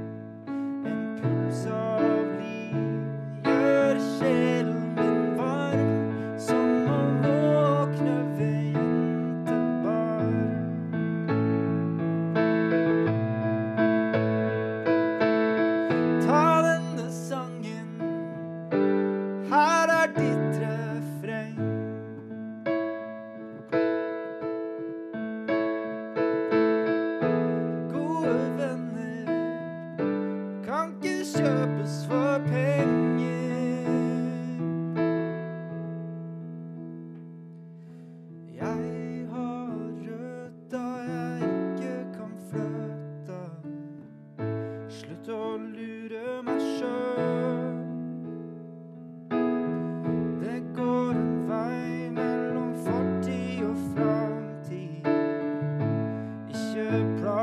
[SPEAKER 3] En puls av liv gjør sjelen min varm. Som å våkne ved jentebar. Ta denne sangen, her er ditt refreng. Gode venner kan ikke kjøpes for penger. Jeg har røtta jeg ikke kan fløta. Slutt å lure meg sjøl. Det går en vei mellom fortid og framtid. Ikke plag